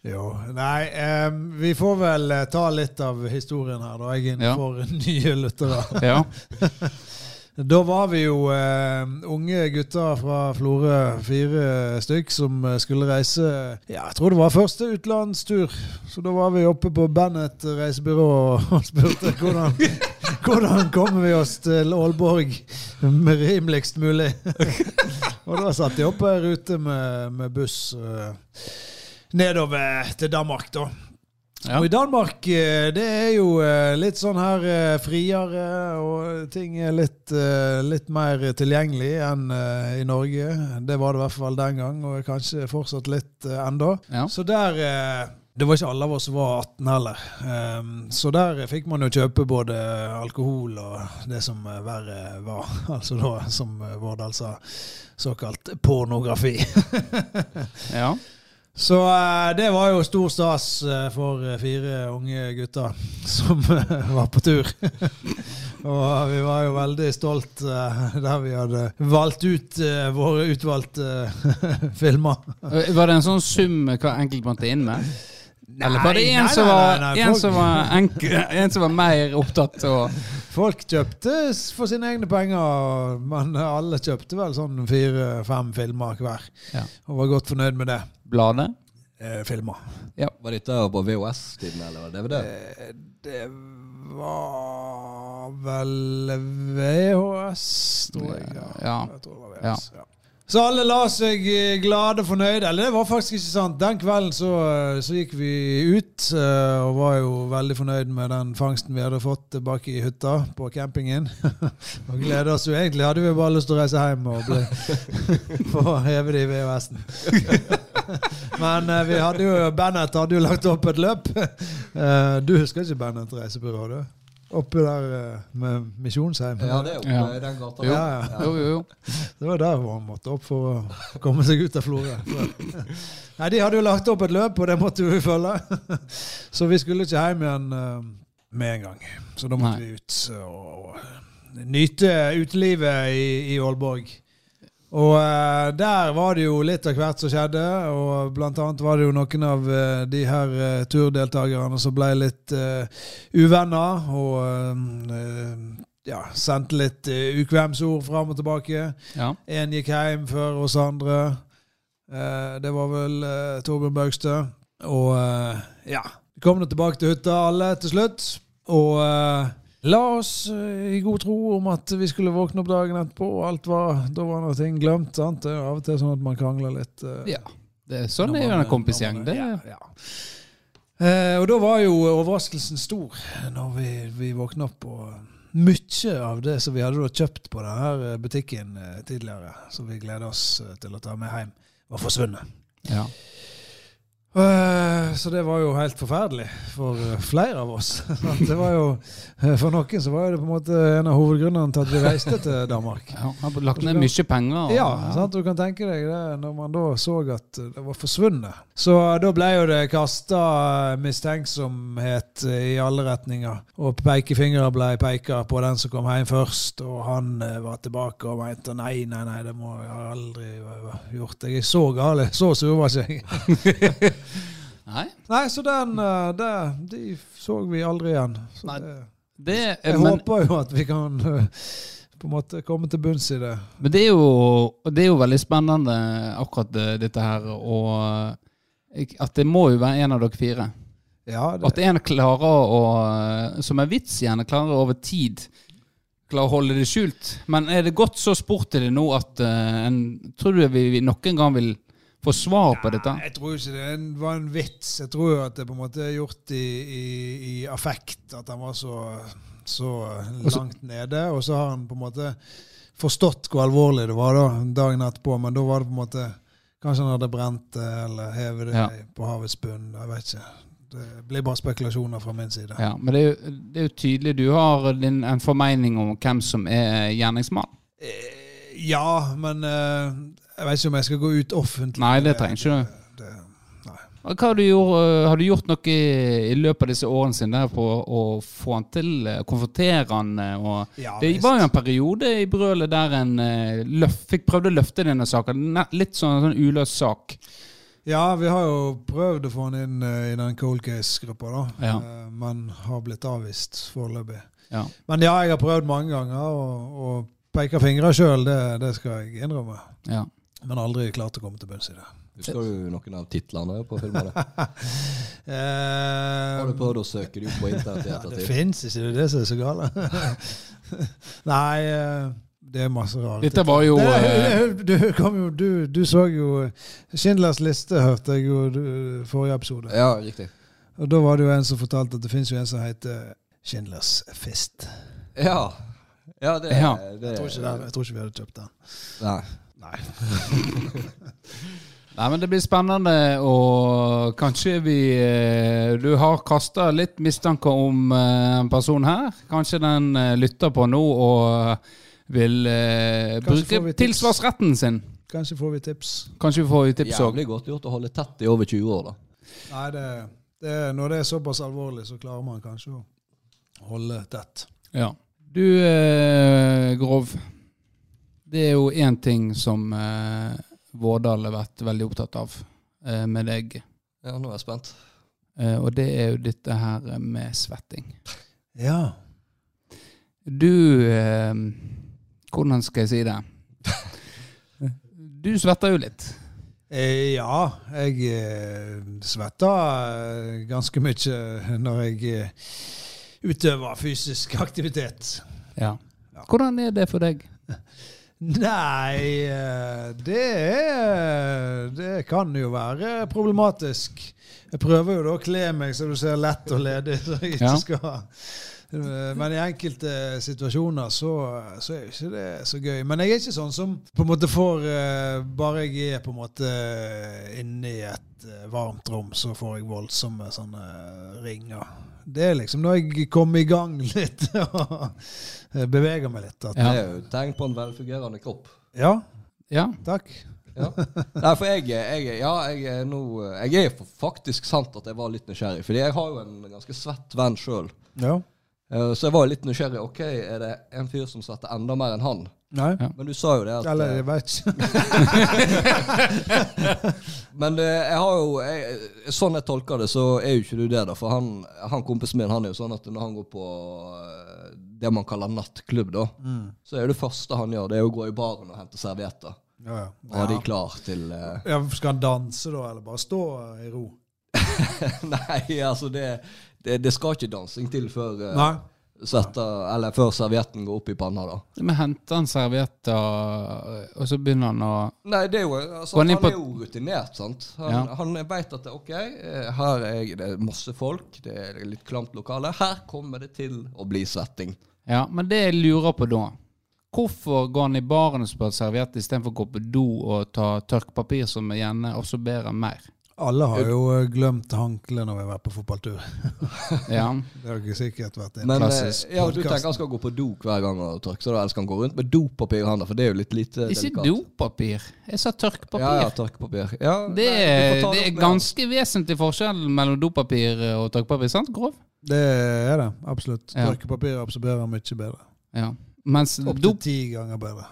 Jo. Nei, em, vi får vel eh, ta litt av historien her, da, Eggen, Ja. for nye lyttere. Ja. Da var vi jo eh, unge gutter fra Florø, fire stykk, som eh, skulle reise Ja, jeg tror det var første utenlandstur. Så da var vi oppe på Bennett reisebyrå og spurte hvordan, hvordan kommer vi oss til Aalborg med rimeligst mulig. Og da satte de opp ei rute med, med buss eh, nedover til Danmark, da. Ja. Og i Danmark, eh, det er jo eh, litt sånn her eh, friere, og ting er litt, eh, litt mer tilgjengelig enn eh, i Norge. Det var det i hvert fall den gang, og er kanskje fortsatt litt eh, enda. Ja. Så der eh, Det var ikke alle av oss som var 18 heller. Ehm, Så der fikk man jo kjøpe både alkohol og det som eh, verre var. Altså da, som eh, Vårdal sa, såkalt pornografi. ja. Så eh, det var jo stor stas eh, for eh, fire unge gutter som eh, var på tur. Og vi var jo veldig stolt eh, der vi hadde valgt ut eh, våre utvalgte eh, filmer. Eh, Var det en sånn sum eh, hva enkelt måtte inn med? Eller var det Nei, en, nei, som, nei, var, nei, nei, en, folk- som, var enk- en som var mer opptatt av Folk kjøpte s- for sine egne penger, men alle kjøpte vel sånn fire-fem filmer hver. Ja. Og var godt fornøyd med det. bladet? Eh, filmer. Var dette på VHS-tiden, eller var det DVD? Eh, det var vel VHS, tror jeg. Ja. Ja. jeg tror det var VHS, ja. Så alle la seg eh, glade og fornøyde. Eller det var faktisk ikke sant. Den kvelden så, eh, så gikk vi ut eh, og var jo veldig fornøyd med den fangsten vi hadde fått tilbake i hytta på campingen. og gleder oss jo egentlig. Hadde vi bare lyst til å reise hjem og bli, få heve det i VHS-en. Men eh, vi hadde jo, Bennett hadde jo lagt opp et løp. Eh, du husker ikke Bennett reisebyrå, du? Oppe der eh, med Misjonsheim. Ja, det er oppe Ja. i den gata. Jo. Ja, ja. Jo, jo, jo. Det var der hvor han måtte opp for å komme seg ut av Florø. Nei, De hadde jo lagt opp et løp, og det måtte jo vi følge. Så vi skulle ikke hjem igjen eh, med en gang. Så da måtte Nei. vi ut og, og nyte utelivet i, i Aalborg. Og eh, der var det jo litt av hvert som skjedde, og blant annet var det jo noen av eh, de her eh, turdeltakerne som ble litt eh, uvenner, og eh, ja, sendte litt eh, ukvemsord fram og tilbake. Ja. En gikk hjem før oss andre. Eh, det var vel eh, Torbjørn Baugstø. Og eh, ja. Vi kom nå tilbake til hytta alle til slutt. Og eh, la oss eh, i god tro om at vi skulle våkne opp dagen etterpå, og alt var, da var noe ting glemt. sant? Det er jo av og til sånn at man krangler litt. eh, ja. Det er sånn når det er jo man- en kompisgjeng. når man- Det ja, er ja. Eh, og da var jo overraskelsen stor når vi, vi våkna opp og mye av det som vi hadde da kjøpt på denne butikken eh, tidligere, som vi gleder oss eh, til å ta med hjem, var forsvunnet. Ja. Eh, Så det var jo helt forferdelig for eh, flere av oss. Sant? Det var jo, eh, for noen så var jo det på en måte en av hovedgrunnene til at vi reiste til Danmark. Ja, han har lagt ned mye penger. og- Ja, sant? du kan tenke deg det når man da så at det var forsvunnet. Så eh, da ble jo det kasta mistenksomhet eh, i alle retninger. Og pekefingre ble peka på den som kom hjem først, og han eh, var tilbake og mente nei, nei, nei, det må jeg aldri ha gjort. Jeg er så gal, så sur var ikke jeg. Nei, Nei, så den eh, det, De så vi aldri igjen. Så Nei, det, det, jeg men, håper jo at vi kan eh, på en måte komme til bunns i det. men det er jo Det er jo veldig spennende, akkurat det- dette her, og jeg- at det må jo være en av dere fire. Ja, det, At en klarer å eh, Som en vits gjerne klarer over tid Klarer å holde det skjult. Men er det gått så sport til det nå at eh, en Tror du vi vi nok en gang vil få svar på dette? Jeg tror ikke det er en- var en vits. Jeg tror jo at det på en måte er gjort i, i, i affekt at han var så, så langt nede. Og så har han på en måte forstått hvor alvorlig det var da, dagen etterpå, men da var det på en måte Kanskje han hadde brent det eller hevet det Ja. på havets bunn. Jeg vet ikke. Det blir bare spekulasjoner fra min side. Ja, men det er, jo, det er jo tydelig du har din, en formening om hvem som er gjerningsmann. Eh, Ja, men eh, jeg vet ikke om jeg skal gå ut offentlig. Nei, det trenger ikke du. Det, Og Hva har du gjort, øh, har du gjort noe i, i løpet av disse årene sine der på å få han til, øh, konfrontere han? øh, Og Ja, det visst. var jo en periode i brølet der en øh, løf, fikk prøvde å løfte denne saken. Ne- Litt sånn, sånn uløst sak. ja, vi har jo prøvd å få han inn eh, i den cold case-gruppa, da. Ja. Eh, Men har blitt avvist foreløpig. Ja. Men ja, jeg har prøvd mange ganger å å peke fingre sjøl, det, det skal jeg innrømme. ja. Men aldri klart å komme til bunns i det. Husker du noen av titlene på filmene? Eh, Har du prøvd å søke dem opp på internett i det ettertid? fins ikke, det er det som er så galt. Nei, eh, det er masse rart. Dette var jo Det- øh, det- du, kom jo, du, du så jo eh, Schindlers liste, hørte jeg jo du- forrige episode. Ja, riktig. Og da var det jo en som fortalte at det finnes jo en som heter Schindlers fist. Ja. Ja, det, Ja. det Jeg tror ikke, den, jeg tror ikke vi hadde kjøpt den. Nei. Nei. Nei, men det blir spennende, og kanskje vi øh, Du har kasta litt mistanke om øh, en person her. Kanskje den øh, lytter på nå og eh, vil øh, bruke får vi tips. tilsvarsretten sin. Kanskje får vi tips. Kanskje vi får tips òg. Jævlig godt gjort å holde tett i over 20 år, da. Nei, det, det, er- når det er såpass alvorlig, så klarer man kanskje å holde tett. Ja. Du, eh, Grov. Det er jo én ting som eh, Vårdal har vært veldig opptatt av eh, med deg. Ja, nå er jeg spent. Eh, og det er jo dette her med svetting. Ja. Du eh, Hvordan skal jeg si det? Du svetter jo litt. Eh, ja, jeg eh, svetter eh, ganske mye når jeg eh, utøver fysisk aktivitet. Ja. Hvordan er det for deg? Nei, eh, det er Det kan jo være problematisk. Jeg prøver jo da å kle meg så du ser lett og ledig, så jeg Ja. ikke skal Eh, Men i enkelte situasjoner så, så er jo ikke det så gøy. Men jeg er ikke sånn som på en måte får eh, Bare jeg er på en måte inne i et eh, varmt rom, så får jeg voldsomme sånne ringer. Det er liksom når jeg kommer i gang litt og eh, beveger meg litt. At, Ja. Det er jo et tegn på en velfungerende kropp. ja, Ja. takk. Ja. Nei, for jeg, jeg, ja, jeg er nå Jeg er faktisk sant at jeg var litt nysgjerrig, fordi jeg har jo en ganske svett venn sjøl. Ja. Eh, Så jeg var jo litt nysgjerrig. Ok, er det en fyr som svetter enda mer enn han? Nei. Ja. Men du sa jo det at Eller jeg vet ikke. Men eh, jeg har jo jeg, Sånn jeg tolker det, så er jo ikke du det, da. For han, han kompisen min han er jo sånn at når han går på eh, det man kaller nattklubb, da, Mm. så er jo det første han gjør, det er å gå i baren og hente servietter. Ja, ja. Og ha de klar til eh, Ja, skal han danse da, eller bare stå eh, i ro? Nei, altså det, det Det skal ikke dansing til før eh, Nei. svetter- eller før servietten går opp i panna, da. Men henter han servietter, og så begynner han å Nei, det er jo, altså, Går han han, inn på- er jo rutinert, sant. Han, Ja. han veit at det, ok, eh, her er jeg, det er masse folk, det er litt klamt lokale. Her kommer det til å bli svetting. Ja, men det jeg lurer på da Hvorfor går han i baren og spør serviett istedenfor å gå på do og ta tørkepapir, som gjerne absorberer mer? Alle har jo eh, glemt håndkleet når vi har vært på fotballtur. Ja. Det har dere sikkert vært inne Men eh, Klassisk ja, du podcast. tenker han skal gå på do hver gang og tørke, så da elsker han å gå rundt med dopapir i hånda, for det er jo litt lite Ikke dopapir. Jeg sa tørkepapir. Ja, ja, tørkepapir. Ja, Det nei, er, du det får ta er opp med han. ganske vesentlig forskjell mellom dopapir og tørkepapir, sant, Grov? i. Det er det, absolutt. Ja. Tørkepapir absorberer mye bedre. Ja. Mens, Opptil dop, ti ganger bedre.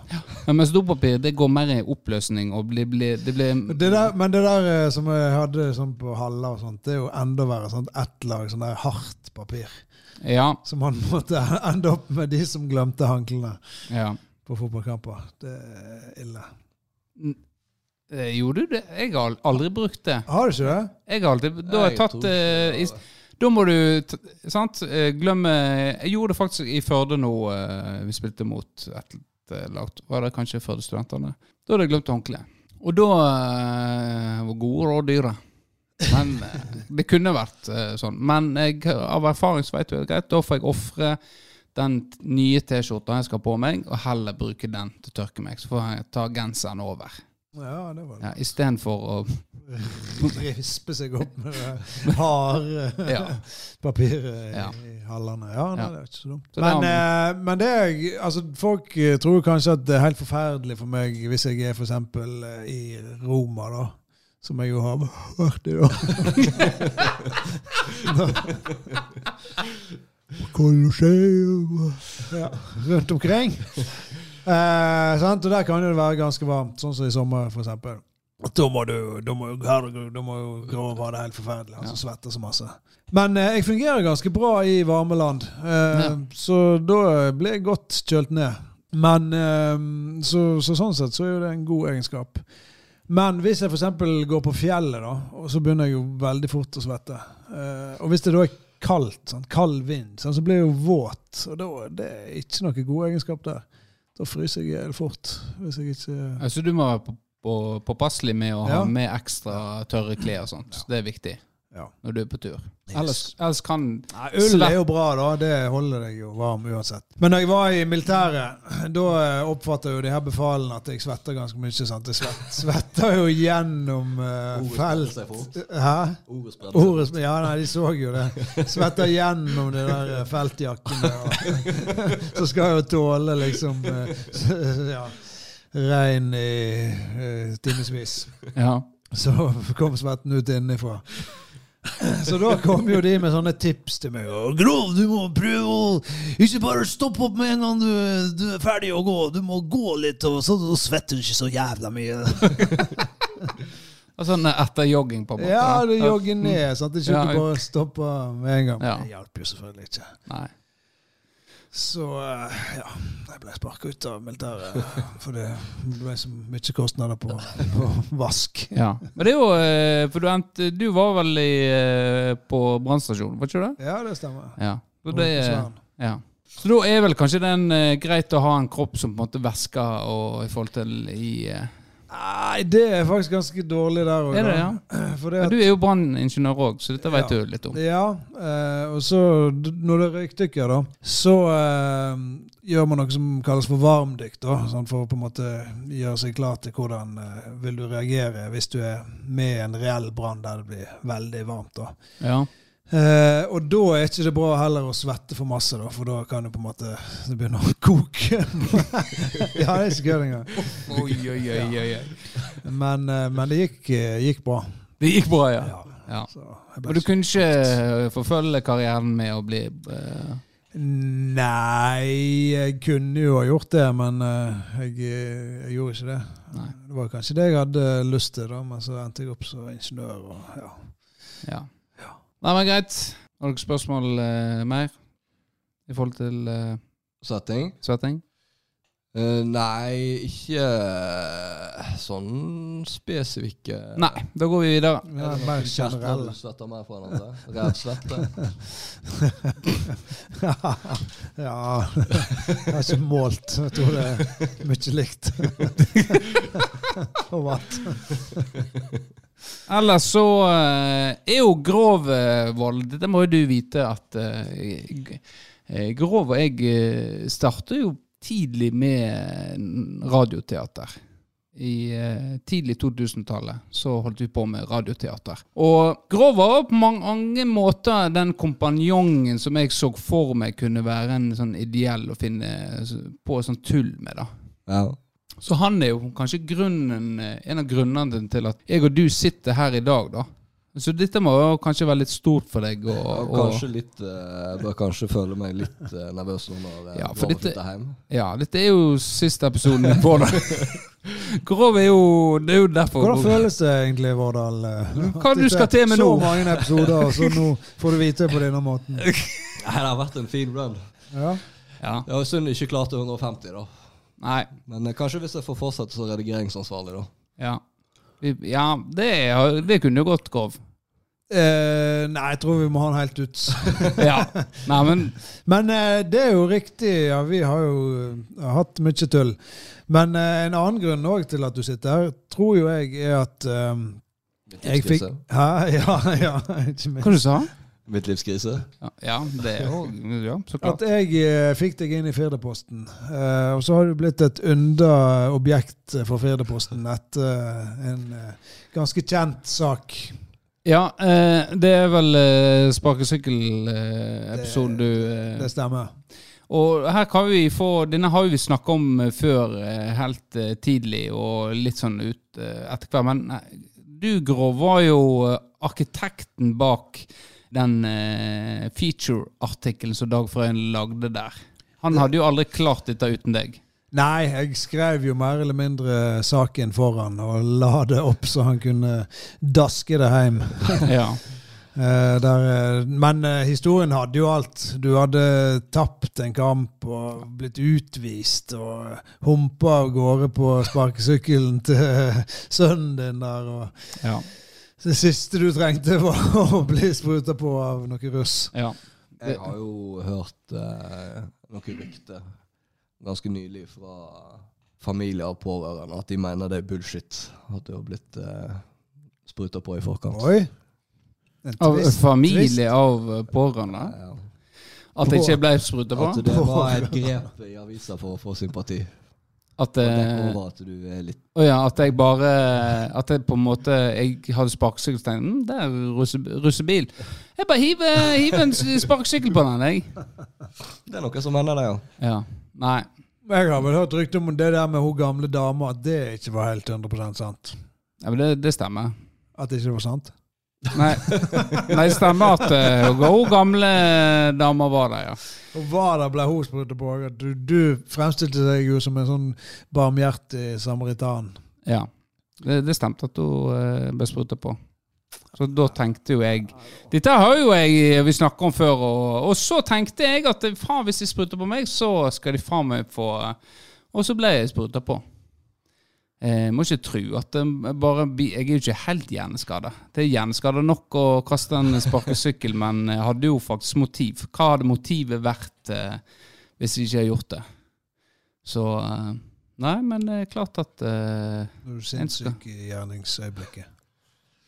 mens dopapir det går mer i oppløsning og blir, blir, det blir Det der, men det der eh, som jeg hadde sånn på halla og sånt, det er jo enda verre. Sånn ett lag sånn der hardt papir. Ja. Som han måtte ende opp med de som glemte håndklærne ja. på fotballkamper. Det er ille. Eh, Gjorde du det? Jeg har aldri brukt det. Har du ikke det? Jeg har alltid Da har jeg Jeg tatt tror ikke altså. eh, i- Da må du t Sant? Eh, Glemme Jeg gjorde det faktisk i Førde nå eh, vi spilte mot et eh, lag. Var det kanskje Førde Studentene? Da hadde jeg glemt håndkleet. Og da eh, var gode råd dyre. Men eh, det kunne vært eh, sånn. Men jeg, av erfaring så vet du det er greit. Da får jeg ofre den t- nye T-skjorta jeg skal ha på meg, og heller bruke den til å tørke meg. Så får jeg ta genseren over. Ja, det var det. Ja, Istedenfor å Rispe seg opp med det harde Ja. papiret i- Ja. i hallene. Ja, nei, Ja. det er ikke så dumt. Så men, det eh, men det er, altså, folk eh, tror kanskje at det er helt forferdelig for meg hvis jeg er f.eks. i Roma, da. Som jeg jo har vært i, da. Colosseum ja, Rundt omkring. Eh, sant? Og der kan det være ganske varmt, sånn som i sommer, f.eks. Og Da må du da må, herregud, da må jo Grov ha det helt forferdelig. Han som svetter så masse. Men eh, jeg fungerer ganske bra i varme land, eh, Ja. så da ble jeg godt kjølt ned. Men eh, så, så sånn sett så er jo det en god egenskap. Men hvis jeg f.eks. går på fjellet, da, og så begynner jeg jo veldig fort å svette. Eh, og hvis det da er kaldt, sant, kald vind, sant, så blir jeg jo våt. Og da det er ikke noe god egenskap der. Da fryser jeg i hjel fort. Hvis jeg ikke Ja, Så Altså, du må være på- på- påpasselig med å ha Ja. med ekstra tørre klær og sånt. Det er viktig Ja. når du er på tur. Yes. Ellers, ellers kan Nei, ull er jo bra, da. Det holder deg jo varm uansett. Men når jeg var i militæret, da eh, oppfatta jo de her befalene at jeg svetter ganske mye. sant? Jeg svett, svetter jo gjennom eh, Ordet spredte felt. seg fort. Hæ? Ordet spredte seg. Ordet, som- ja, nei, de så jo det. Svetter gjennom de der eh, feltjakkene. og- Så skal jeg jo tåle liksom eh, ja, regn i eh, timevis. Ja. Så kom svetten ut innenfra. Så da kom jo de med sånne tips til meg. «Å, Grov, du må prøve å Ikke bare stopp opp med en gang du, du er ferdig å gå. Du må gå litt, og så så svetter du ikke så jævla mye. Og sånn etter jogging, på en måte. Ja, du jogger ned, sånn at du ikke Ja, jeg- bare stopper med en gang. Ja. Men Det hjalp jo selvfølgelig ikke. Nei. Så eh, ja, jeg ble sparka ut av militæret. For det ble så mye kostnader på, på vask. Ja. Men det er jo eh, For du, endte, du var vel i, eh, på brannstasjonen, var ikke du det? Ja, det stemmer. Ja. Så, Og det, er- Svern. ja. Så da er vel kanskje den eh, greit å ha en kropp som på en måte væsker og i forhold til i eh, Nei, det er faktisk ganske dårlig der òg. Er det, ja? For det Men at du er jo branningeniør òg, så dette vet Ja. du litt om. Ja, eh, og så d- når det er røykdykker, da, så eh, gjør man noe som kalles for varmdykk. da, sånn For å på en måte gjøre seg klar til hvordan eh, vil du reagere hvis du er med i en reell brann der det blir veldig varmt. da. Ja. Eh, og da er ikke det bra heller å svette for masse, da, for da kan det på en måte det begynne å koke. ja, det er ikke gøy engang. Oi, oi, oi, oi, oi. Men, eh, men det gikk, eh, gikk bra. Det gikk bra, ja. Ja. ja. Så jeg Og ble du kunne ikke forfølge karrieren med å bli eh, Nei, jeg kunne jo ha gjort det, men eh, jeg, jeg gjorde ikke det. Nei. Det var kanskje det jeg hadde lyst til, da, men så endte jeg opp som ingeniør. Og, ja. ja. Nei, men greit. Har dere spørsmål eh, mer i forhold til eh, Setting? svetting? Eh, nei, ikke eh, sånn spesifikke Nei, da går vi videre. Ja, mer generelle. Svetter mer fra hverandre? Revsvette? ja, jeg har ikke målt. Jeg tror det er mye likt. og vatt. Ellers så eh, er jo Grovvold Dette må jo du vite at eh, eh, Grov og jeg eh, startet jo tidlig med eh, radioteater. I eh, tidlig 2000-tallet så holdt vi på med radioteater. Og Grov var på mange måter den kompanjongen som jeg så for meg kunne være en sånn ideell å finne på sånn tull med. da. Ja. Så han er jo kanskje grunnen, eh, en av grunnene til at jeg og du sitter her i dag, da. Så dette må jo kanskje være litt stort for deg. Og, Og og, kanskje litt eh, Jeg bør kanskje føle meg litt eh, nervøs nå når jeg Ja, for går og dette- flytter hjem. ja, dette er jo siste episoden din på da. Grov er jo Det er jo derfor Hvordan føles det egentlig, Vårdal? eh, Hva at du skal til med så nå? Så mange episoder, og så nå får du vite på denne måten. Nei, det har vært en fin run. Ja. Ja. Det var synd jeg ikke klarte 150, da. Nei. Men eh, kanskje hvis jeg får fortsette som redigeringsansvarlig, da. Ja. Vi- ja det, er- det kunne jo gått, Grov. Eh, nei, jeg tror vi må ha den helt ut. Ja. Nei, men Men eh, det er jo riktig. Ja, vi har jo eh, hatt mye tull. Men eh, en annen grunn òg til at du sitter her, tror jo jeg er at eh, jeg fikk Midtlivskrise. Hæ? Ja, ja, ikke minst. Hva du sa Midtlivskrise. Ja, ja det er jo Ja, så At klart. jeg eh, fikk deg inn i Firdaposten, eh, og så har du blitt et underobjekt for Firdaposten etter en eh, ganske kjent sak. Ja, eh, det er vel eh, sparkesykkelepisoden du eh, Det stemmer. Og her kan vi få, denne har jo vi snakka om eh, før, eh, helt eh, tidlig og litt sånn ut eh, etter hver. Men nei, du, Grov, var jo eh, arkitekten bak den eh, feature-artikkelen som Dag Frøyen lagde der. Eh. Han hadde jo aldri klart dette uten deg. Nei, jeg skrev jo mer eller mindre saken foran og la det opp så han kunne daske det hjem. Ja, Eh, der, eh, men eh, historien hadde jo alt. Du hadde tapt en kamp og blitt utvist og eh, humpa av gårde på sparkesykkelen til eh, sønnen din der. Og ja, så det siste du trengte, var å bli spruta på av noe russ. ja. Jeg har jo hørt eh, noen rykter ganske nylig fra familier og pårørende at de mener det er bullshit at du har blitt eh, spruta på i forkant. Oi! En Av twist. twist. familie av eh, pårørende? Ja. At jeg ikke ble spruta på? At det var et grep i avisa for å få sympati. At, Og eh, dekke over at du er litt Å ja, at jeg bare At jeg på en måte Jeg hadde sparkesykkel og tenkte mm, det er russe, russebil. Jeg bare hiver, hiver en s- sparkesykkel på den, jeg. Det er noe som hender deg, ja. Ja. Nei. Jeg har vel hørt rykte om det der med hun gamle dama, at det ikke var helt 100 sant. Ja, men det, det stemmer. At det ikke var sant. Nei, Nei det stemmer at eh, hun hun gamle dama var der, ja. Og hva da ble hun spurt på? At Du, du fremstilte deg jo som en sånn barmhjertig samaritan. ja. Det, det stemte at hun eh, ble spruta på. Så da tenkte jo jeg Dette har jo jeg eh, vi snakka om før, og, og så tenkte jeg at eh, faen, hvis de spruter på meg, så skal de faen meg få eh, Og så ble jeg spruta på. Jeg må ikke tro at det bare blir Jeg er jo ikke helt hjerneskada. Det er hjerneskada nok å kaste en sparkesykkel, men jeg hadde jo faktisk motiv. Hva hadde motivet vært eh, hvis jeg ikke hadde gjort det? Så eh, Nei, men det er klart at eh, Når du er sinnssyk i gjerningsøyeblikket.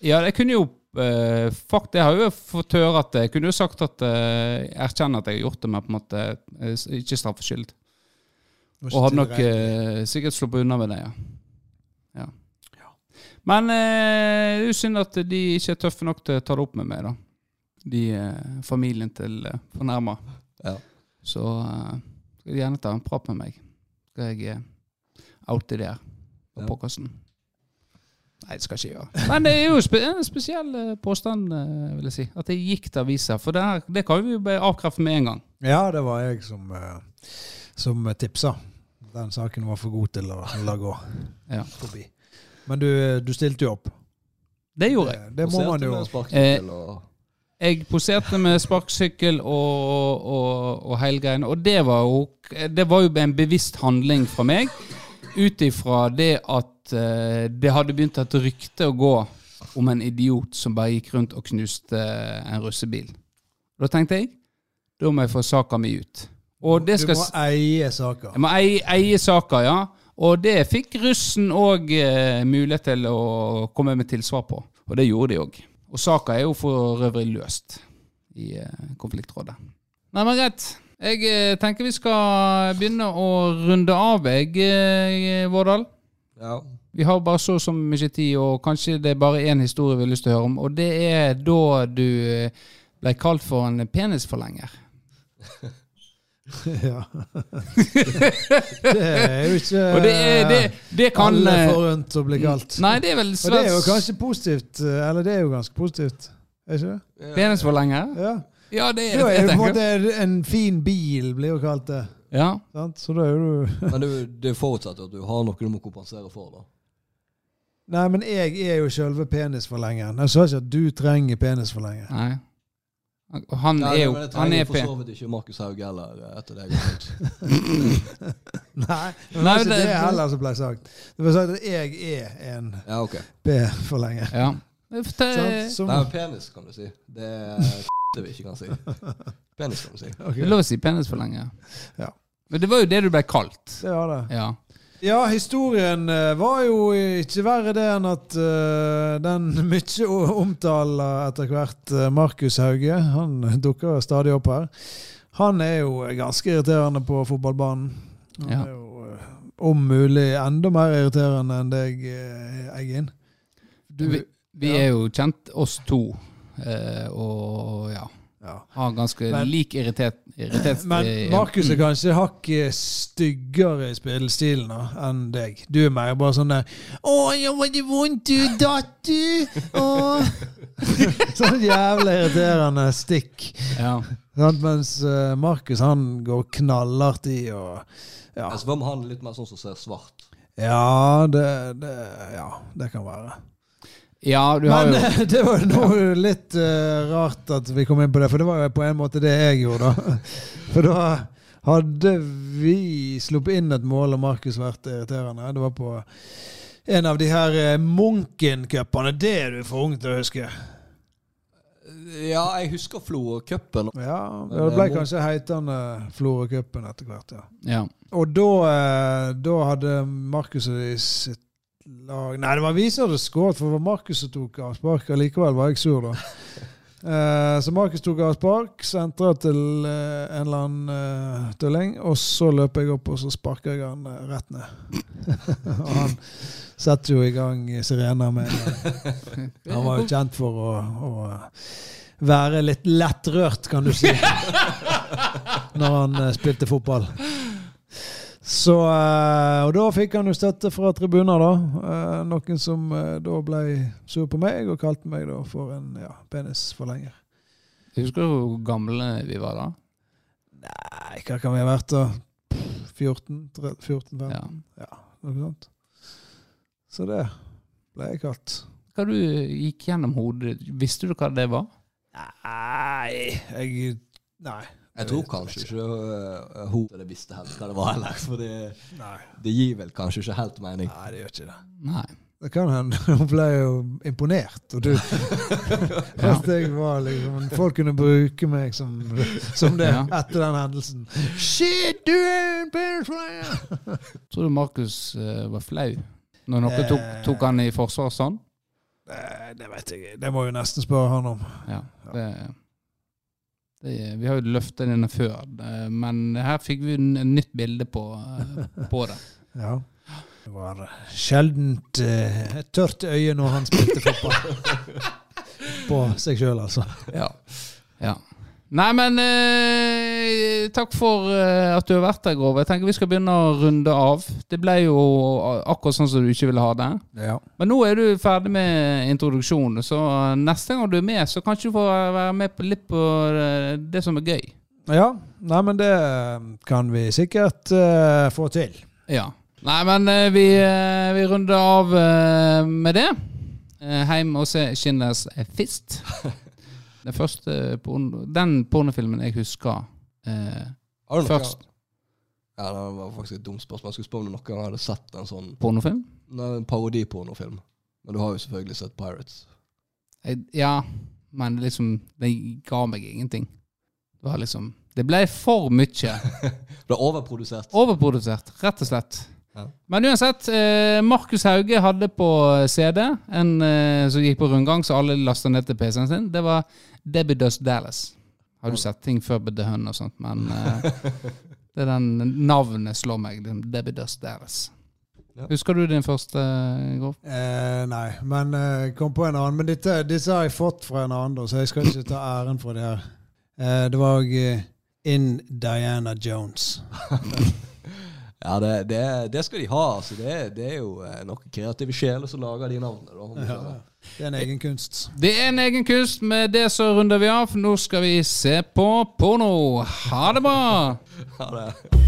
ja, jeg kunne jo eh, fuck, Jeg har jo fått høre at jeg kunne jo sagt at eh, jeg erkjenner at jeg har gjort det, men på en måte eh, s- ikke straffskyld. Nå er Og hadde nok ikke det eh, sikkert sluppet unna med det, ja. ja. Men eh, det er jo synd at de ikke er tøffe nok til å ta det opp med meg, da. De eh, familien til eh, fornærma. ja. Så eh, skal de gjerne ta en prat med meg. Skal jeg eh, oute det her på Ja. podkasten. Nei, det skal jeg ikke gjøre. Men det er jo spe en spesiell eh, påstand, eh, vil jeg si. At det gikk til avisa. For det, her, det kan vi jo bare avkrefte med en gang. rett. Ja, det var jeg som, eh, som tipsa. Den saken var for god til å la gå Ja. forbi. Men du, eh, du stilte jo opp. Det gjorde Det, jeg. det må man jo. Sparkesykkel og Jeg poserte med sparkesykkel og, og, og hele greien. Og det var, jo, det var jo en bevisst handling fra meg, ut ifra det at eh, det hadde begynt et rykte å gå om en idiot som bare gikk rundt og knuste eh, en russebil. Da tenkte jeg da må jeg få saka mi ut. Og det Du skal må s- eie saka. jeg må eie, eie saka, ja. Og det fikk russen òg eh, mulighet til å komme med tilsvar på. Og det gjorde de òg. Og saka er jo for øvrig løst i eh, konfliktrådet. Nei, men greit. Jeg eh, tenker vi skal begynne å runde av, jeg, eh, Vårdal. Ja. Vi har bare så og så mye tid, og kanskje det er bare én historie vi har lyst til å høre om. Og det er da du eh, ble kalt for en penisforlenger. Ja. det er jo ikke Og det, er, det, det kan Eh, alle eh, forunt å bli kalt. Nei, det er vel Og det er jo svært kanskje positivt. eh, Eller det er jo ganske positivt. Er ikke det? penisforlenger. Ja. Ja, det Da er er jo jeg på en tenker. måte en fin bil, blir jo kalt det. Ja. Sant? Så da er jo du Men det, det forutsetter at du har noe du må kompensere for. da. Nei, men jeg er jo sjølve penisforlengeren. Jeg sa ikke at du trenger penisforlenger. Nei. Han Nei, er jo men det Han trenger er for pen. så vidt ikke Markus Haug heller. eh, etter det. jeg har hørt. Nei, Nei, det var ikke det- det heller som ble sagt. Det ble sagt at jeg er en Ja, ok. P-forlenger. Ja. Fortell- Sant? Som, Nei, men penis kan du si. Det er det vi ikke kan si. Penis kan du si. ok, Det er lov å si penisforlenger. Ja. Men det var jo det du ble kalt. det var det. Ja. Ja, historien eh, var jo ikke verre det enn at eh, den mye o- omtaler etter hvert eh, Markus Hauge, han dukker stadig opp her, han er jo ganske irriterende på fotballbanen. Han Ja. er jo eh, om mulig enda mer irriterende enn deg, eh, Eggen. Du, vi vi ja. er jo kjent, oss to, eh, og ja ja. Har ganske Men- lik irritet... irritet Men eh, Markus er kanskje hakket styggere i spillestilen da, enn deg. Du er mer bare sånn der 'Å, ja, var det vondt du datt, du?' Å. sånn jævla irriterende stikk. ja. Sant? Mens eh, Markus han går knallhardt i og Ja, Jeg spør om han er litt mer sånn som ser svart. ja det, det Ja, det kan være. ja, du har Men jo eh, det var jo noe litt eh, rart at vi kom inn på det, for det var jo på en måte det jeg gjorde. da. For da hadde vi sluppet inn et mål, og Markus vært irriterende. Det var på en av de her eh, Munken-cupene. Det er du for ung til å huske. Ja, jeg husker Florø-cupen. Ja, Det ble kanskje heitende Florø-cupen etter hvert, ja. ja. Og da, eh, da hadde Markus og de sitt lag Nei, det var vi som hadde skåret, for det var Markus som tok avspark. Allikevel var jeg sur, da. Eh, så Markus tok avspark, sentra til eh, en eller annen eh, tulling, og så løp jeg opp, og så sparka jeg han eh, rett ned. og han setter jo i gang sirener med en gang. Han var jo kjent for å, å eh, være litt lettrørt, kan du si, når han eh, spilte fotball. Så, eh, og da fikk han jo støtte fra tribuner, da. Eh, Noen som eh, da ble sur på meg, og kalte meg da for en ja, penisforlenger. Husker du hvor gamle vi var da? Nei, hva kan vi ha vært da? 14-15? Ja. Noe sånt. Så det ble jeg kalt. Hva du gikk gjennom hodet Visste du hva det var? Nei jeg, Nei. Jeg tror kanskje ikke eh, hun det visste helt hva det var heller. For det, Nei. det gir vel kanskje ikke helt mening. Nei, det gjør ikke det. Nei. Det kan hende. Hun ble jo imponert. Og du Fast jeg var liksom Folk kunne bruke meg som, som det Ja. etter den hendelsen. Shit, du er en penisforlenger! Tror du Markus eh, var flau når noen Eh. tok, tok han i forsvar sånn? Nei, Det vet jeg ikke. Det må jeg jo nesten spørre han om. Ja. Det, det, vi har jo løftet denne før, eh, men her fikk vi en, en nytt bilde på, eh, på det. Ja. Det var sjeldent eh, et tørt øye når han spilte fotball. På seg sjøl, altså. Ja. Nei, men eh, takk for eh, at du har vært der, Grov. Jeg tenker vi skal begynne å runde av. Det ble jo akkurat sånn som du ikke ville ha det. Ja. Men nå er du ferdig med introduksjonen, så eh, neste gang du er med, så kan ikke du få være med på litt på eh, det som er gøy. ja. Nei, men det eh, kan vi sikkert eh, få til. Ja. Nei, men eh, vi, eh, vi runder av eh, med det. Eh, Heim og se Schindlers eh, Fist. Den første eh, porno, den pornofilmen jeg husker eh, Har du noe- Først. Ja, det var faktisk et dumt spørsmål. Jeg skulle spørre om noen gang hadde sett en sånn Pornofilm? nei, en parodi på noen film. Men du har jo selvfølgelig sett Pirates. Jeg, ja, men liksom Det ga meg ingenting. Det var liksom Det ble for mye. Det er overprodusert. Overprodusert, rett og slett. Ja. Men uansett, eh, Markus Hauge hadde på CD eh, en eh, som gikk på rundgang, så alle lasta ned til PC-en sin. Det var Debbie Does Dallas. Har du sett ting før på The Hun og sånt, men eh, det er den navnet slår meg. den Debbie Dust Dallas. Ja. Husker du din første, eh, Grov? Eh, nei, men eh, kom på en annen. Men dette, disse har jeg fått fra en annen, da, så jeg skal ikke ta æren for det her. Eh, det var eh, In Diana Jones. Ja, det, det, det skal de ha. Altså, det, det er jo eh, noen kreative sjeler som lager de navnene. Da, om du skjønner. Det er en egen kunst. Det er en egen kunst. Med det så runder vi av, for nå skal vi se på porno. Ha det bra! Ha det.